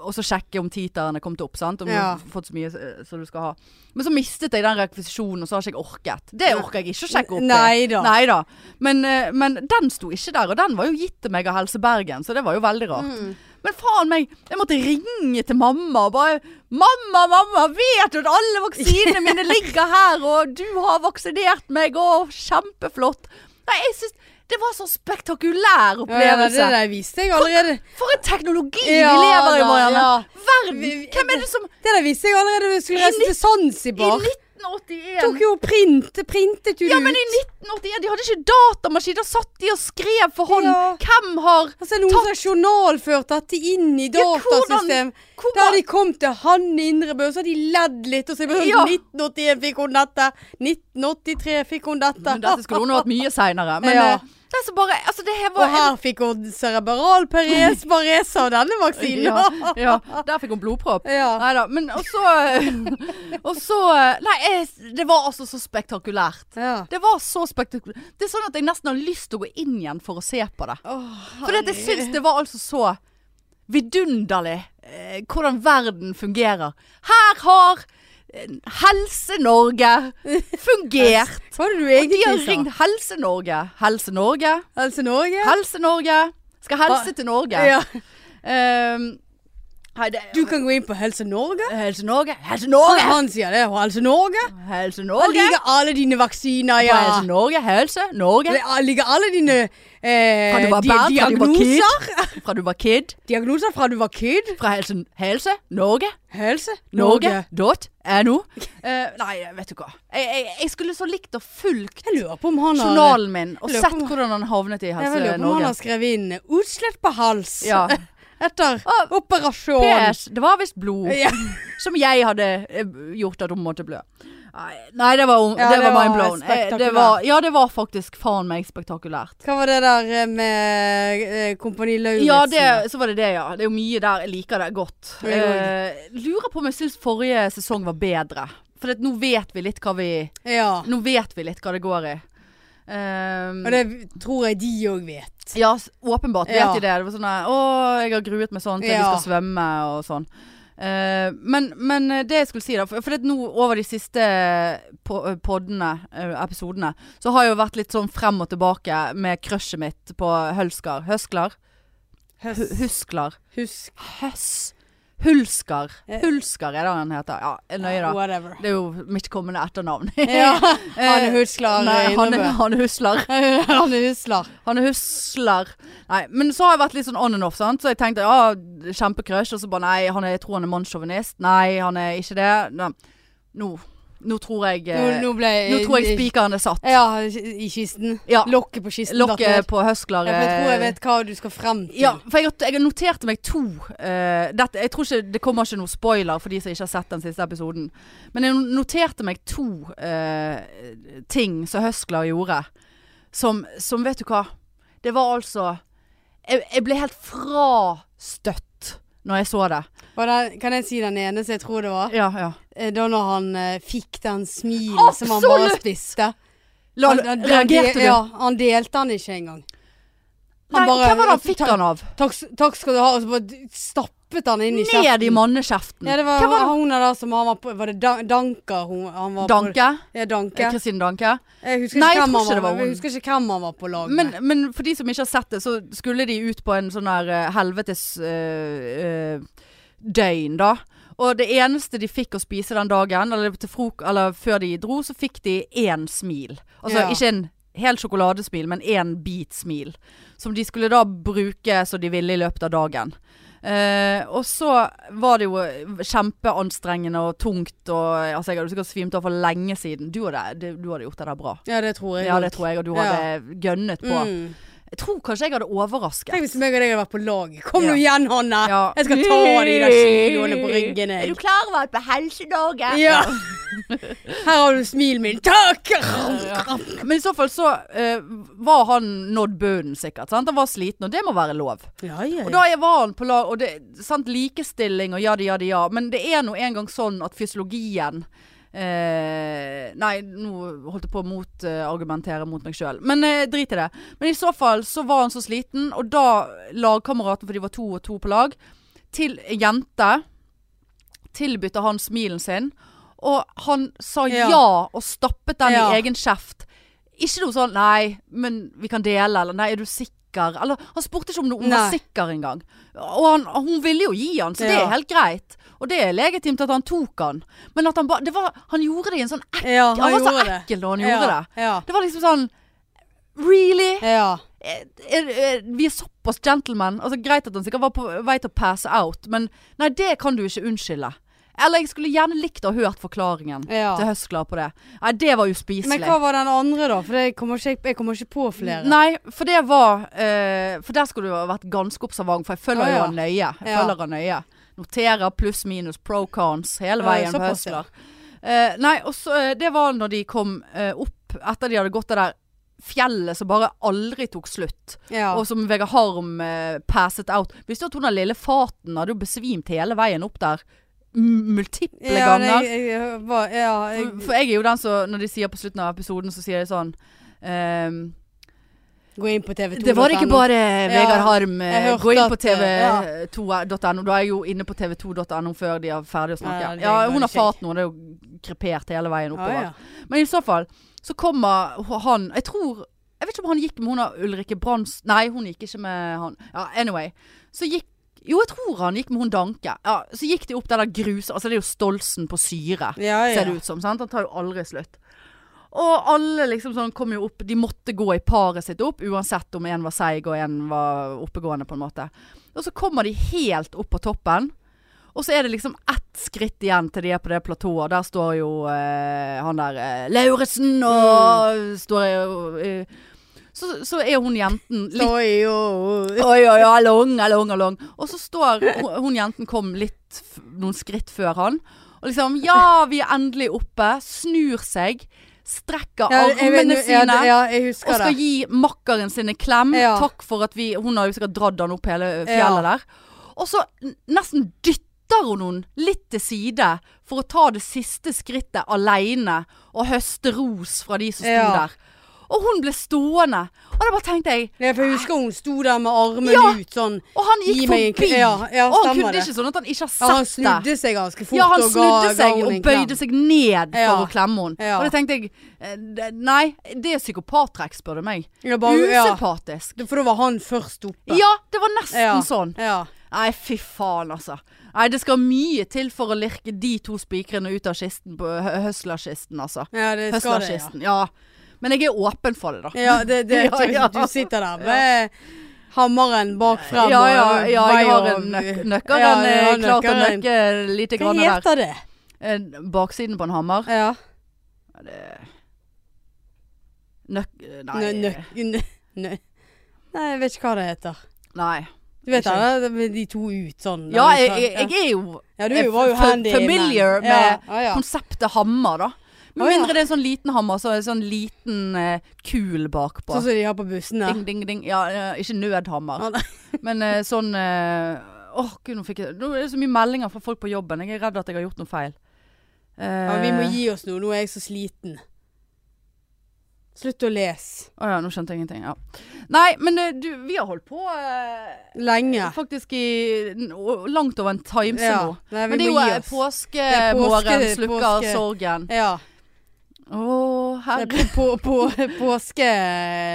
S1: Og så sjekke om titeren er kommet opp, sant. Om
S2: Ja.
S1: du har fått så mye eh, som du skal ha. Men så mistet jeg den rekvisisjonen, og så har ikke jeg orket. Det orker jeg ikke å sjekke opp. i.
S2: Nei da.
S1: Nei da. Men, eh, men den sto ikke der, og den var jo gitt til meg av Helse Bergen, så det var jo veldig rart.
S2: Mm.
S1: Men faen meg, jeg måtte ringe til mamma og bare 'Mamma, mamma, vet du at alle
S2: <laughs>
S1: vaksinene mine ligger her, og du har vaksinert meg, og kjempeflott'. Nei, jeg syns det var så spektakulær
S2: Ja, ja, det
S1: opplevelse.
S2: der visste jeg allerede.
S1: For en teknologi
S2: Ja,
S1: vi lever i,
S2: da,
S1: Marianne.
S2: ja.
S1: Verden.
S2: Vi- vi-
S1: Hvem er det som
S2: Det der visste jeg allerede da vi skulle
S1: I
S2: reise til
S1: i
S2: Zanzibar.
S1: 1981
S2: Tok jo print, printet jo
S1: Ja,
S2: det
S1: men i
S2: ut.
S1: 1981 De hadde ikke datamaskin. Da satt de og skrev for hånd.
S2: Ja.
S1: Hvem har
S2: Og så er Altså, det noen som har journalført dette inn i
S1: Ja, hvordan-
S2: datasystem.
S1: hvor
S2: Da
S1: var-
S2: har de kommet til han Indrebø, og så har de ledd litt. Og så er det bare
S1: Ja.
S2: sånn 1981 fikk hun dette. 1983 fikk hun dette.
S1: Men dette skulle hun hatt mye seinere. Men
S2: Ja.
S1: eh, det er så bare Altså, det her
S2: Og
S1: var
S2: her fikk hun cerebral pares, parese av denne
S1: ja,
S2: vaksinen.
S1: <laughs> ja, der fikk hun blodpropp.
S2: Ja.
S1: Nei da. Men og så eh, Og så Nei, jeg, det var altså så spektakulært.
S2: <laughs> ja.
S1: Det var så spektakulært. Det er sånn at jeg nesten har lyst til å gå inn igjen for å se på det. Fordi at jeg syns det var altså så vidunderlig eh, hvordan verden fungerer. Her har eh, Helse-Norge
S2: <laughs>
S1: fungert.
S2: Hva var det du
S1: De har
S2: egentlig sa?
S1: ringt Helse-Norge. Helse-Norge.
S2: Helse Norge?
S1: Helse-Norge. Skal helse til Norge.
S2: Ja.
S1: Ehm, nei, det,
S2: Du kan gå inn på Helse Norge.
S1: Helse Norge. Helse
S2: Han,
S1: Norge!
S2: han sier det. og Helse Norge.
S1: Helse
S2: Der
S1: Norge.
S2: ligger alle dine
S1: På
S2: vaksiner, ja.
S1: Helse Norge. Helse Norge.
S2: Der ah, ligger alle dine eh,
S1: Fra du var
S2: di-
S1: barn, fra du var
S2: diagnoser.
S1: kid. <laughs> Fra du var kid.
S2: Diagnoser fra du var kid.
S1: Fra Helse, helse Norge.
S2: Helse
S1: Norge.no. <laughs> Eh, nei, vet du hva. Jeg, jeg, jeg skulle så likt og fulgt
S2: Jeg lurer på om han har
S1: journalen min og
S2: Jeg lurer
S1: sett
S2: på-
S1: hvordan han havnet i
S2: Jeg
S1: Helse
S2: lurer øh, på om han
S1: Norge.
S2: har skrevet inn utslett på hals.
S1: altså, Ja.
S2: <laughs> etter
S1: Å,
S2: operasjon.
S1: PS, det var visst blod
S2: Ja,
S1: som jeg hadde eh, gjort at hun måtte blø. Nei, Nei, det var,
S2: Ja,
S1: det
S2: det
S1: var
S2: var
S1: mind blown. Eh, Det
S2: spektakulært.
S1: var, ja, det var faktisk faen meg spektakulært.
S2: hva var det der eh, med eh, Kompani Lauritzen?
S1: Ja, det, så var det det, ja. Det er jo mye der. Jeg liker det godt.
S2: Jeg
S1: Eh, lurer på om jeg syns forrige sesong var bedre. For det, nå vet vi litt hva vi
S2: Ja.
S1: Nå vet vi litt hva det går i. Ehm,
S2: Og det tror jeg de òg vet.
S1: ja, s- åpenbart vet
S2: Ja.
S1: de det. Det var sånn der, Å, jeg har gruet meg sånn til vi
S2: Ja.
S1: skal svømme og sånn. Eh, men, men eh, det jeg skulle si da For, for det at nå over de siste eh, po poddene, eh, episodene, så har jeg jo vært litt sånn frem og tilbake med crushet mitt på Hølskar. Høsklar? Hu- Husklar?
S2: Husk.
S1: Høss. Hulsker.
S2: Eh.
S1: Hulsker er det han heter. Ja, jeg er nøye da. <laughs>
S2: Whatever.
S1: Det er jo mitt kommende etternavn. Eh,
S2: Ja, <laughs>
S1: <laughs>
S2: han er huslar.
S1: Nei, han er,
S2: Indrebø.
S1: han er husler.
S2: <laughs> han er huslar.
S1: Han er husler. Nei, men så har jeg vært litt sånn on and off, sant. Så jeg tenkte ja, kjempecrush. Og så bare nei, han er, jeg tror han er mannssjåvinist. Nei, han er ikke det. Nei. Nå. Nå tror jeg
S2: Nå,
S1: eh,
S2: nå ble
S1: Nå tror jeg spikeren er satt.
S2: Ja, i kisten.
S1: Ja.
S2: Lokket på kisten datt ned.
S1: Lokket på høskler
S2: Ja, for jeg
S1: eh,
S2: tror jeg vet hva du skal frem til.
S1: Ja, for jeg, har- jeg noterte meg to eh, dette, Jeg tror ikke det kommer ikke noe spoiler for de som ikke har sett den siste episoden. Men jeg noterte meg to eh, ting som Høskler gjorde, som, som Vet du hva? Det var altså Jeg, jeg ble helt frastøtt når jeg så det.
S2: Og den, kan jeg si den ene som jeg tror det var?
S1: Ja, ja.
S2: Eh, Da når han eh, fikk den smilen som han bare
S1: Ah, Absolutt!
S2: spiste.
S1: La,
S2: Han- han-
S1: reagerte du?
S2: Ja, han delte han ikke engang.
S1: Nei,
S2: bare-
S1: hvem var det han fikk
S2: Ta-
S1: han av?
S2: Takk, s- takk skal du ha. Og så bare d- stappet han inn i kjeften.
S1: Ned i mannekjeften.
S2: Ja, det var,
S1: hvem var det?
S2: hun der som han var på Var det Dan- Danker hun han var på?
S1: Danke?
S2: Ja, Danke.
S1: Kristine Danke?
S2: Jeg husker,
S1: Nei,
S2: ikke
S1: jeg tror
S2: hvem han
S1: ikke det var
S2: var, jeg
S1: hun.
S2: husker ikke hvem han var på lag
S1: Men,
S2: med.
S1: men for de som ikke har sett det, så skulle de ut på en sånn her eh, helvetes eh, eh, døgn, da. Og det eneste de fikk å spise den dagen, eller, til frok eller før de dro, så fikk de én smil. Altså
S2: Ja.
S1: ikke en hel sjokoladesmil, men én bit smil. Som de skulle da bruke som de ville i løpet av dagen. Eh, og så var det jo eh, kjempeanstrengende og tungt og altså, Jeg hadde sikkert svimt av for lenge siden. Du hadde, du hadde gjort det der bra.
S2: Ja, det tror jeg.
S1: Ja,
S2: nok.
S1: det tror jeg, og du hadde gønnet på.
S2: Mm.
S1: Jeg tror kanskje jeg hadde overrasket.
S2: Tenk hvis meg og deg hadde vært på lag. Kom nå
S1: Ja.
S2: igjen, Hanne!
S1: <laughs> Ja.
S2: Jeg skal ta de der kiloene på ryggen. jeg.
S1: klar over at på helsedagen
S2: Ja. <laughs> Her har du smilen min. Takk!
S1: Men i så fall så eh, var han nådd bunnen sikkert. Sant? Han var sliten, og det må være lov.
S2: Ja, ja,
S1: Og da er- var han på lag, og det, sant, likestilling og ja, det, ja, det, ja. Men det er nå engang sånn at fysiologien eh, nei, nå holdt jeg på å motargumentere mot meg sjøl, men eh, drit i det. Men i så fall så var han så sliten, og da lagkameraten, for de var to og to på lag, til en jente tilbydde han smilen sin, og han sa ja,
S2: Ja.
S1: og stappet den
S2: Ja.
S1: i egen kjeft. Ikke noe sånn 'nei, men vi kan dele', eller 'nei, er du sikker'? Eller han spurte ikke om hun var
S2: Nei.
S1: sikker engang. Og han, hun ville jo gi han, så det
S2: Ja.
S1: er helt greit. Og det er legitimt at han tok han. Men at han bare Han gjorde det i en sånn ekkel
S2: ja, han,
S1: Han, var så
S2: gjorde det.
S1: ekkel da han gjorde
S2: ja,
S1: det.
S2: Ja.
S1: Det var liksom sånn Really?
S2: ja.
S1: Er, er, er, vi er såpass gentlemen. Altså, greit at han sikkert var på vei til å passe out, men nei, det kan du ikke unnskylde. Eller jeg skulle gjerne likt å ha hørt forklaringen
S2: Ja.
S1: til Høsklar på det. Nei, det var
S2: Men
S1: uspiselig.
S2: hva var den andre, da? For jeg kommer ikke, jeg kommer ikke på flere.
S1: Nei, for det var eh, For der skulle du ha vært ganske observant, for jeg følger
S2: Å,
S1: jo
S2: ja.
S1: han nøye. Jeg
S2: Ja.
S1: følger han nøye. Noterer pluss minus pro cons hele
S2: Ja,
S1: veien på
S2: såpass, ja.
S1: Høsler. Eh, nei, og så eh, Det var når de kom eh, opp etter de hadde gått det der fjellet som bare aldri tok slutt.
S2: Ja.
S1: Og som Vegard Harm eh, passet out. Visste du at hun den lille faten hadde jo besvimt hele veien opp der? M multiple
S2: ja,
S1: ganger.
S2: Jeg, jeg, jeg, var, ja, jeg,
S1: For- For jeg er jo den som, når de sier på slutten av episoden, så sier de sånn ehm,
S2: gå inn på TV2.
S1: det var ikke bare eh, Vegard Harm.
S2: jeg hørte
S1: Gå inn på
S2: at, eh,
S1: tv2.no. Da er jeg jo inne på tv2.no før de er ferdig å snakke.
S2: Ja, det
S1: Ja,
S2: var
S1: hun har
S2: litt kjekt.
S1: fat nå. Det er jo krepert hele veien
S2: Ja,
S1: oppover.
S2: ja.
S1: Men i så fall så kommer han Jeg tror Jeg vet ikke om han gikk med hun av Ulrikke Brands Nei, hun gikk ikke med han. Ja, anyway. Så gikk Jo, jeg tror han gikk med hun Danke. Ja, så gikk de opp den der grus... Altså, det er jo Stolsen på syre
S2: Ja, ja.
S1: ser det ut som. Sant? Han tar jo aldri slutt. Og alle liksom sånn kom jo opp De måtte gå i paret sitt opp, uansett om en var seig og en var oppegående, på en måte. Og så kommer de helt opp på toppen. Og så er det liksom ett skritt igjen til de er på det platået. Der står
S2: Mm.
S1: jo eh, han der eh, Lauritzen og står jo eh, så, så er hun jenten litt
S2: Oi, oi.
S1: <laughs> Oi, oi, oi, long, long, long. Og så står hun- hun jenten kom litt f- noen skritt før han. Og liksom Ja, vi er endelig oppe. Snur seg. Strekker
S2: Ja, jeg vet
S1: armene
S2: nå- ja,
S1: sine.
S2: det- ja, jeg
S1: Og
S2: husker
S1: skal
S2: det.
S1: gi makkeren sin en klem.
S2: Ja.
S1: Takk for at vi Hun har jo sikkert dratt han opp hele fjellet
S2: Ja.
S1: der. Og så n- nesten dytter hun noen litt til side for å ta det siste skrittet aleine og høste ros fra de som sto
S2: Ja.
S1: der. Og hun ble stående. Og da bare tenkte jeg
S2: Ja, for jeg husker hun sto der med armen
S1: Ja.
S2: ut sånn.
S1: Og han gikk
S2: Gi meg en
S1: forbi.
S2: kle- ja, ja,
S1: og han
S2: stemmer
S1: kunne
S2: det.
S1: ikke sånn at han ikke har sett
S2: Ja, han
S1: det.
S2: snudde seg ganske fort
S1: Ja, han
S2: og ga,
S1: snudde
S2: ga
S1: seg
S2: hun
S1: og
S2: en klem.
S1: bøyde seg ned for
S2: Ja.
S1: å klemme henne.
S2: Ja.
S1: Og da tenkte jeg eh, det- Nei, det er psykopattrekk, spør du meg.
S2: Ja, bare, ja.
S1: Usympatisk.
S2: For da var han først oppe.
S1: Ja, det var nesten
S2: Ja.
S1: sånn.
S2: Ja.
S1: Nei, fy faen, altså. Nei, det skal mye til for å lirke de to spikrene ut av kisten på hø- høslerkisten, altså.
S2: ja, det skal det. Ja,
S1: Høslerkisten, ja. Men jeg er åpen for det, da.
S2: ja det, det,
S1: <laughs> Ja, ja.
S2: Du sitter der med hammeren bak frem.
S1: ja,
S2: og
S1: ja, ja
S2: vei
S1: jeg har
S2: og-
S1: en nøk nøkkel.
S2: Ja,
S1: den
S2: du
S1: er klar
S2: har
S1: til å
S2: nøkkelen.
S1: nøkke lite
S2: Hva
S1: grann der.
S2: heter det?
S1: Eh, Baksiden på en hammer.
S2: Ja.
S1: Nøk... Nei.
S2: Nø, nøk- nø, nø. Nei, jeg vet ikke hva det heter.
S1: nei.
S2: Du vet
S1: Ikke.
S2: da, det med de to ut sånn.
S1: Ja,
S2: da,
S1: jeg,
S2: sånn.
S1: jeg, jeg er jo
S2: ja, du
S1: jeg
S2: var jo
S1: f-
S2: handy.
S1: familiar
S2: men- ja,
S1: med
S2: ja, ja.
S1: konseptet hammer, da. Med
S2: Å, ja.
S1: mindre det er en sånn liten hammer, så er det en sånn liten eh, kul bakpå.
S2: Sånn som de har på bussene.
S1: Ding, ding, ding. Ja, ja, ikke nødhammer.
S2: Å, nei. <laughs>
S1: Men eh, sånn eh, Åh, gud, nå fikk jeg Nå er det så mye meldinger fra folk på jobben. Jeg er redd at jeg har gjort noe feil. Eh,
S2: Ja, vi må gi oss nå. Nå er jeg så sliten. Slutt å lese.
S1: Eh, Å ja, nå skjønte jeg ingenting. Ja. Nei, men eh, du, vi har holdt på eh,
S2: Lenge.
S1: faktisk i n- o- langt over en timese
S2: Ja.
S1: nå.
S2: Nei, vi
S1: Men det er jo
S2: må gi
S1: eh,
S2: oss. er påske,
S1: påskemorgen
S2: det er
S1: slukker
S2: påske.
S1: sorgen.
S2: Ja.
S1: Å,
S2: Det
S1: herre
S2: er på, på, på, påske...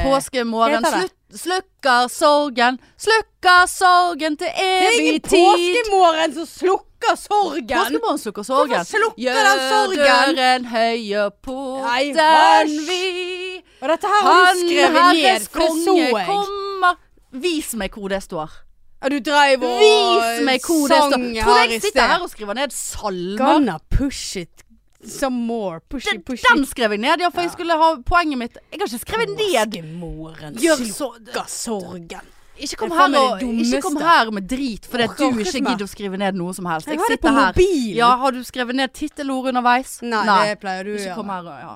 S1: Påskemorgen
S2: Heter det?
S1: slutt, slukker sorgen, slukker sorgen til
S2: Det er
S1: evig
S2: ingen
S1: tid.
S2: påskemorgen som slukker sorgen!
S1: Påskemorgen slukker sorgen.
S2: Hvorfor slukker den sorgen?
S1: Gjør døren høye
S2: Nei,
S1: porten
S2: vars.
S1: vid.
S2: Og dette her har du
S1: Han
S2: skrevet ned,
S1: herres
S2: for det så
S1: konge
S2: jeg.
S1: kommer. Vis meg hvor det står.
S2: Ja, du dreiv og
S1: Vis meg hvor det står.
S2: sang
S1: Tror du
S2: her i
S1: jeg
S2: sted.
S1: sitter her og skriver ned salmer?
S2: Gonna push it some more. Push it, push
S1: Den skrev jeg ned, ja, for jeg skulle ha poenget mitt. Jeg har ikke skrevet ned.
S2: Påskemoren
S1: Gjør
S2: slukker
S1: så
S2: sorgen.
S1: Ikke kom
S2: Det er
S1: her,
S2: faen meg
S1: og,
S2: det
S1: ikke kom
S2: dummeste.
S1: her med drit fordi at
S2: Orker
S1: du
S2: ikke
S1: ikke
S2: mer.
S1: gidder å skrive ned noe som helst.
S2: Jeg
S1: Jeg
S2: har det på
S1: sitter her.
S2: mobil.
S1: Ja, har du skrevet ned tittelord underveis?
S2: Nei, det pleier du å
S1: Ikke
S2: gjøre.
S1: kom her og ja.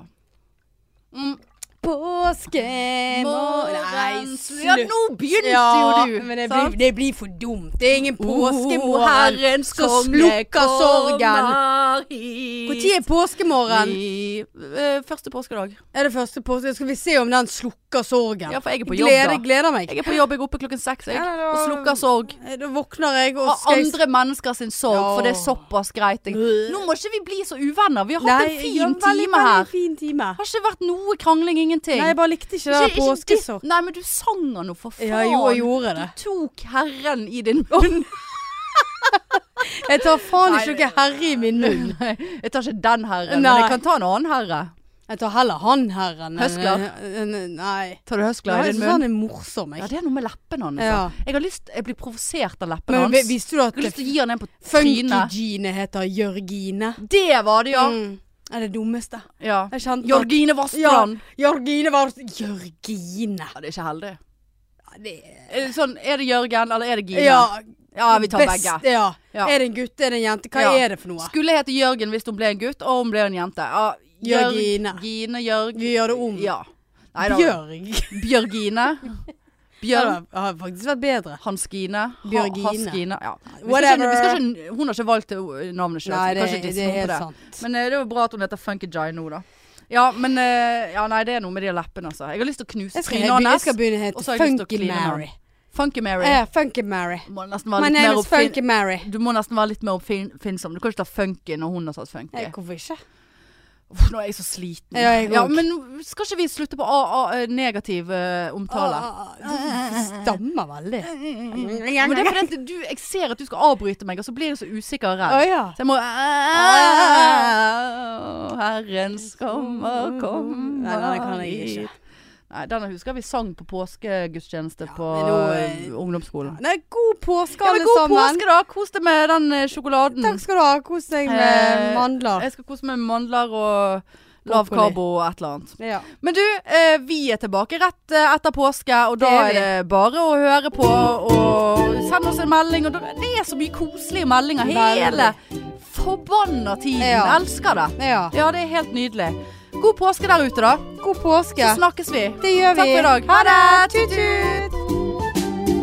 S2: Påskemorgen
S1: Morgen
S2: slutt.
S1: Ja, nå begynte jo du!
S2: men det
S1: sant?
S2: blir, det blir for dumt. Det er ingen
S1: O
S2: påskemorgen.
S1: Herrens
S2: som
S1: konge
S2: slukker sorgen.
S1: kommer hit.
S2: Når er påskemorgen?
S1: Vi- eh, Første påskedag.
S2: Er det første påske? Skal vi se om den slukker sorgen?
S1: Ja, for jeg er på jobb,
S2: gleder,
S1: da.
S2: gleder meg.
S1: Jeg er på jobb, jeg er oppe klokken seks jeg,
S2: Ja, da-
S1: og slukker sorg.
S2: Da våkner jeg og
S1: Av
S2: skal jeg-
S1: andre mennesker sin sorg,
S2: Ja.
S1: for det er såpass greit. Jeg.
S2: Øh.
S1: Nå må ikke vi bli så uvenner. Vi har hatt
S2: Nei,
S1: en
S2: ja,
S1: fin
S2: veldig,
S1: time
S2: veldig
S1: her.
S2: Fin
S1: Det
S2: time.
S1: har ikke vært noe krangling, ingenting.
S2: Nei, jeg bare likte ikke
S1: Ikke-
S2: det der
S1: ikke
S2: påskesokk.
S1: ditt- Nei, men du sang han nå, for faen.
S2: Ja, jo, jeg gjorde det.
S1: Du tok herren i din munn.
S2: Jeg tar faen
S1: Nei,
S2: ikke noe herre i min munn.
S1: Nei, jeg tar ikke den herren, men
S2: Nei.
S1: jeg kan ta en annen herre.
S2: Jeg tar heller han herren. enn-
S1: Høskler?
S2: enn- Nei.
S1: Tar du
S2: Nei,
S1: høskla i
S2: jeg
S1: din
S2: syns han
S1: munn?
S2: er morsom,
S1: sånn- Ja,
S2: jeg.
S1: det er noe med leppene hans.
S2: Ja.
S1: da. Jeg har lyst, jeg blir provosert av leppene
S2: Men
S1: hans.
S2: vi-
S1: Jeg
S2: visste du at
S1: har lyst til å gi han en på trynet.
S2: Funky-Gine heter Jørgine?
S1: Det var det, ja.
S2: Mm. Det er det dummeste.
S1: ja.
S2: Jeg kjente at-
S1: Jørgine Vassbrand.
S2: Ja, Jørgine var Jørgine.
S1: Ja, det er ikke heldig.
S2: Ja, det
S1: Er det Sånn, er det Jørgen, eller er det Gine?
S2: Ja,
S1: Ja, vi tar
S2: best,
S1: begge.
S2: Ja.
S1: Ja.
S2: Er det en gutt, er det en jente? Hva
S1: Ja.
S2: er det for noe?
S1: Skulle hete Jørgen hvis hun ble en gutt, og hun ble en jente. Ja,
S2: Jørgine.
S1: Jørgine, Jørg...
S2: Vi gjør det om.
S1: Ja. Nei da.
S2: Bjørg. <laughs>
S1: Bjørgine.
S2: Ja,
S1: Bjørn.
S2: det har faktisk vært bedre.
S1: Hanskine. Ha-
S2: Bjørgine.
S1: Haskine. Ja. Vi skal
S2: Whatever.
S1: ikke, vi skal ikke, hun har ikke valgt eh, navnet sjøl.
S2: Nei, det, det er helt
S1: det.
S2: sant.
S1: Men eh, det er jo bra at hun heter Funky Jai nå, da. Ja, men eh, ja, nei, det er noe med de leppene, altså. Jeg har lyst til å knuse
S2: Jeg skal,
S1: trynet
S2: jeg, jeg
S1: hans.
S2: skal begynne å
S1: Og
S2: hete
S1: så har jeg lyst til å
S2: Funky
S1: kline med
S2: Mary.
S1: Funky Mary.
S2: Eh, Funky Mary.
S1: Må nesten
S2: My
S1: være litt
S2: name
S1: mer
S2: is Funky
S1: oppfinn...
S2: Mary.
S1: Du må nesten være litt mer oppfinn- oppfinnsom. Du kan ikke ta funky når hun har tatt funky.
S2: Eh, hvorfor ikke?
S1: Uff, nå er jeg så sliten.
S2: Ja, jeg òg.
S1: men skal ikke vi slutte på a, a, negativ eh, omtale?
S2: Du stammer veldig.
S1: Men det er fordi at du, jeg ser at du skal avbryte meg, og så blir jeg så usikker og
S2: Å
S1: redd.
S2: ja.
S1: Så jeg må Herrens kommer, kommer
S2: Nei, den kan jeg ikke.
S1: hit. Nei, denne husker vi sang på påskegudstjeneste på
S2: men nå, eh,
S1: eh, ungdomsskolen.
S2: Nei, god påske,
S1: Ja, men
S2: alle
S1: god
S2: sammen.
S1: påske, da! Kos deg med den eh, sjokoladen.
S2: Takk skal du ha. Kos deg med
S1: Eh,
S2: mandler.
S1: Jeg skal kose meg med mandler og Lav
S2: Broccoli.
S1: karbo og et eller annet.
S2: Ja.
S1: Men du, eh, vi er tilbake rett eh, etter påske, og da
S2: Det er
S1: er,
S2: vi.
S1: det bare å høre på og sende oss en melding. Og da- det er så mye koselige meldinger hele forbanna tiden.
S2: Ja.
S1: Elsker det.
S2: ja.
S1: Ja, det er helt nydelig. God påske der ute, da.
S2: God påske.
S1: Så snakkes vi.
S2: Det gjør vi.
S1: Takk for i dag.
S2: Ha det.
S1: Tut-tut.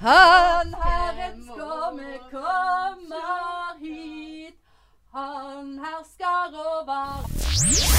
S1: Han Herrens komme kommer hit. Han hersker over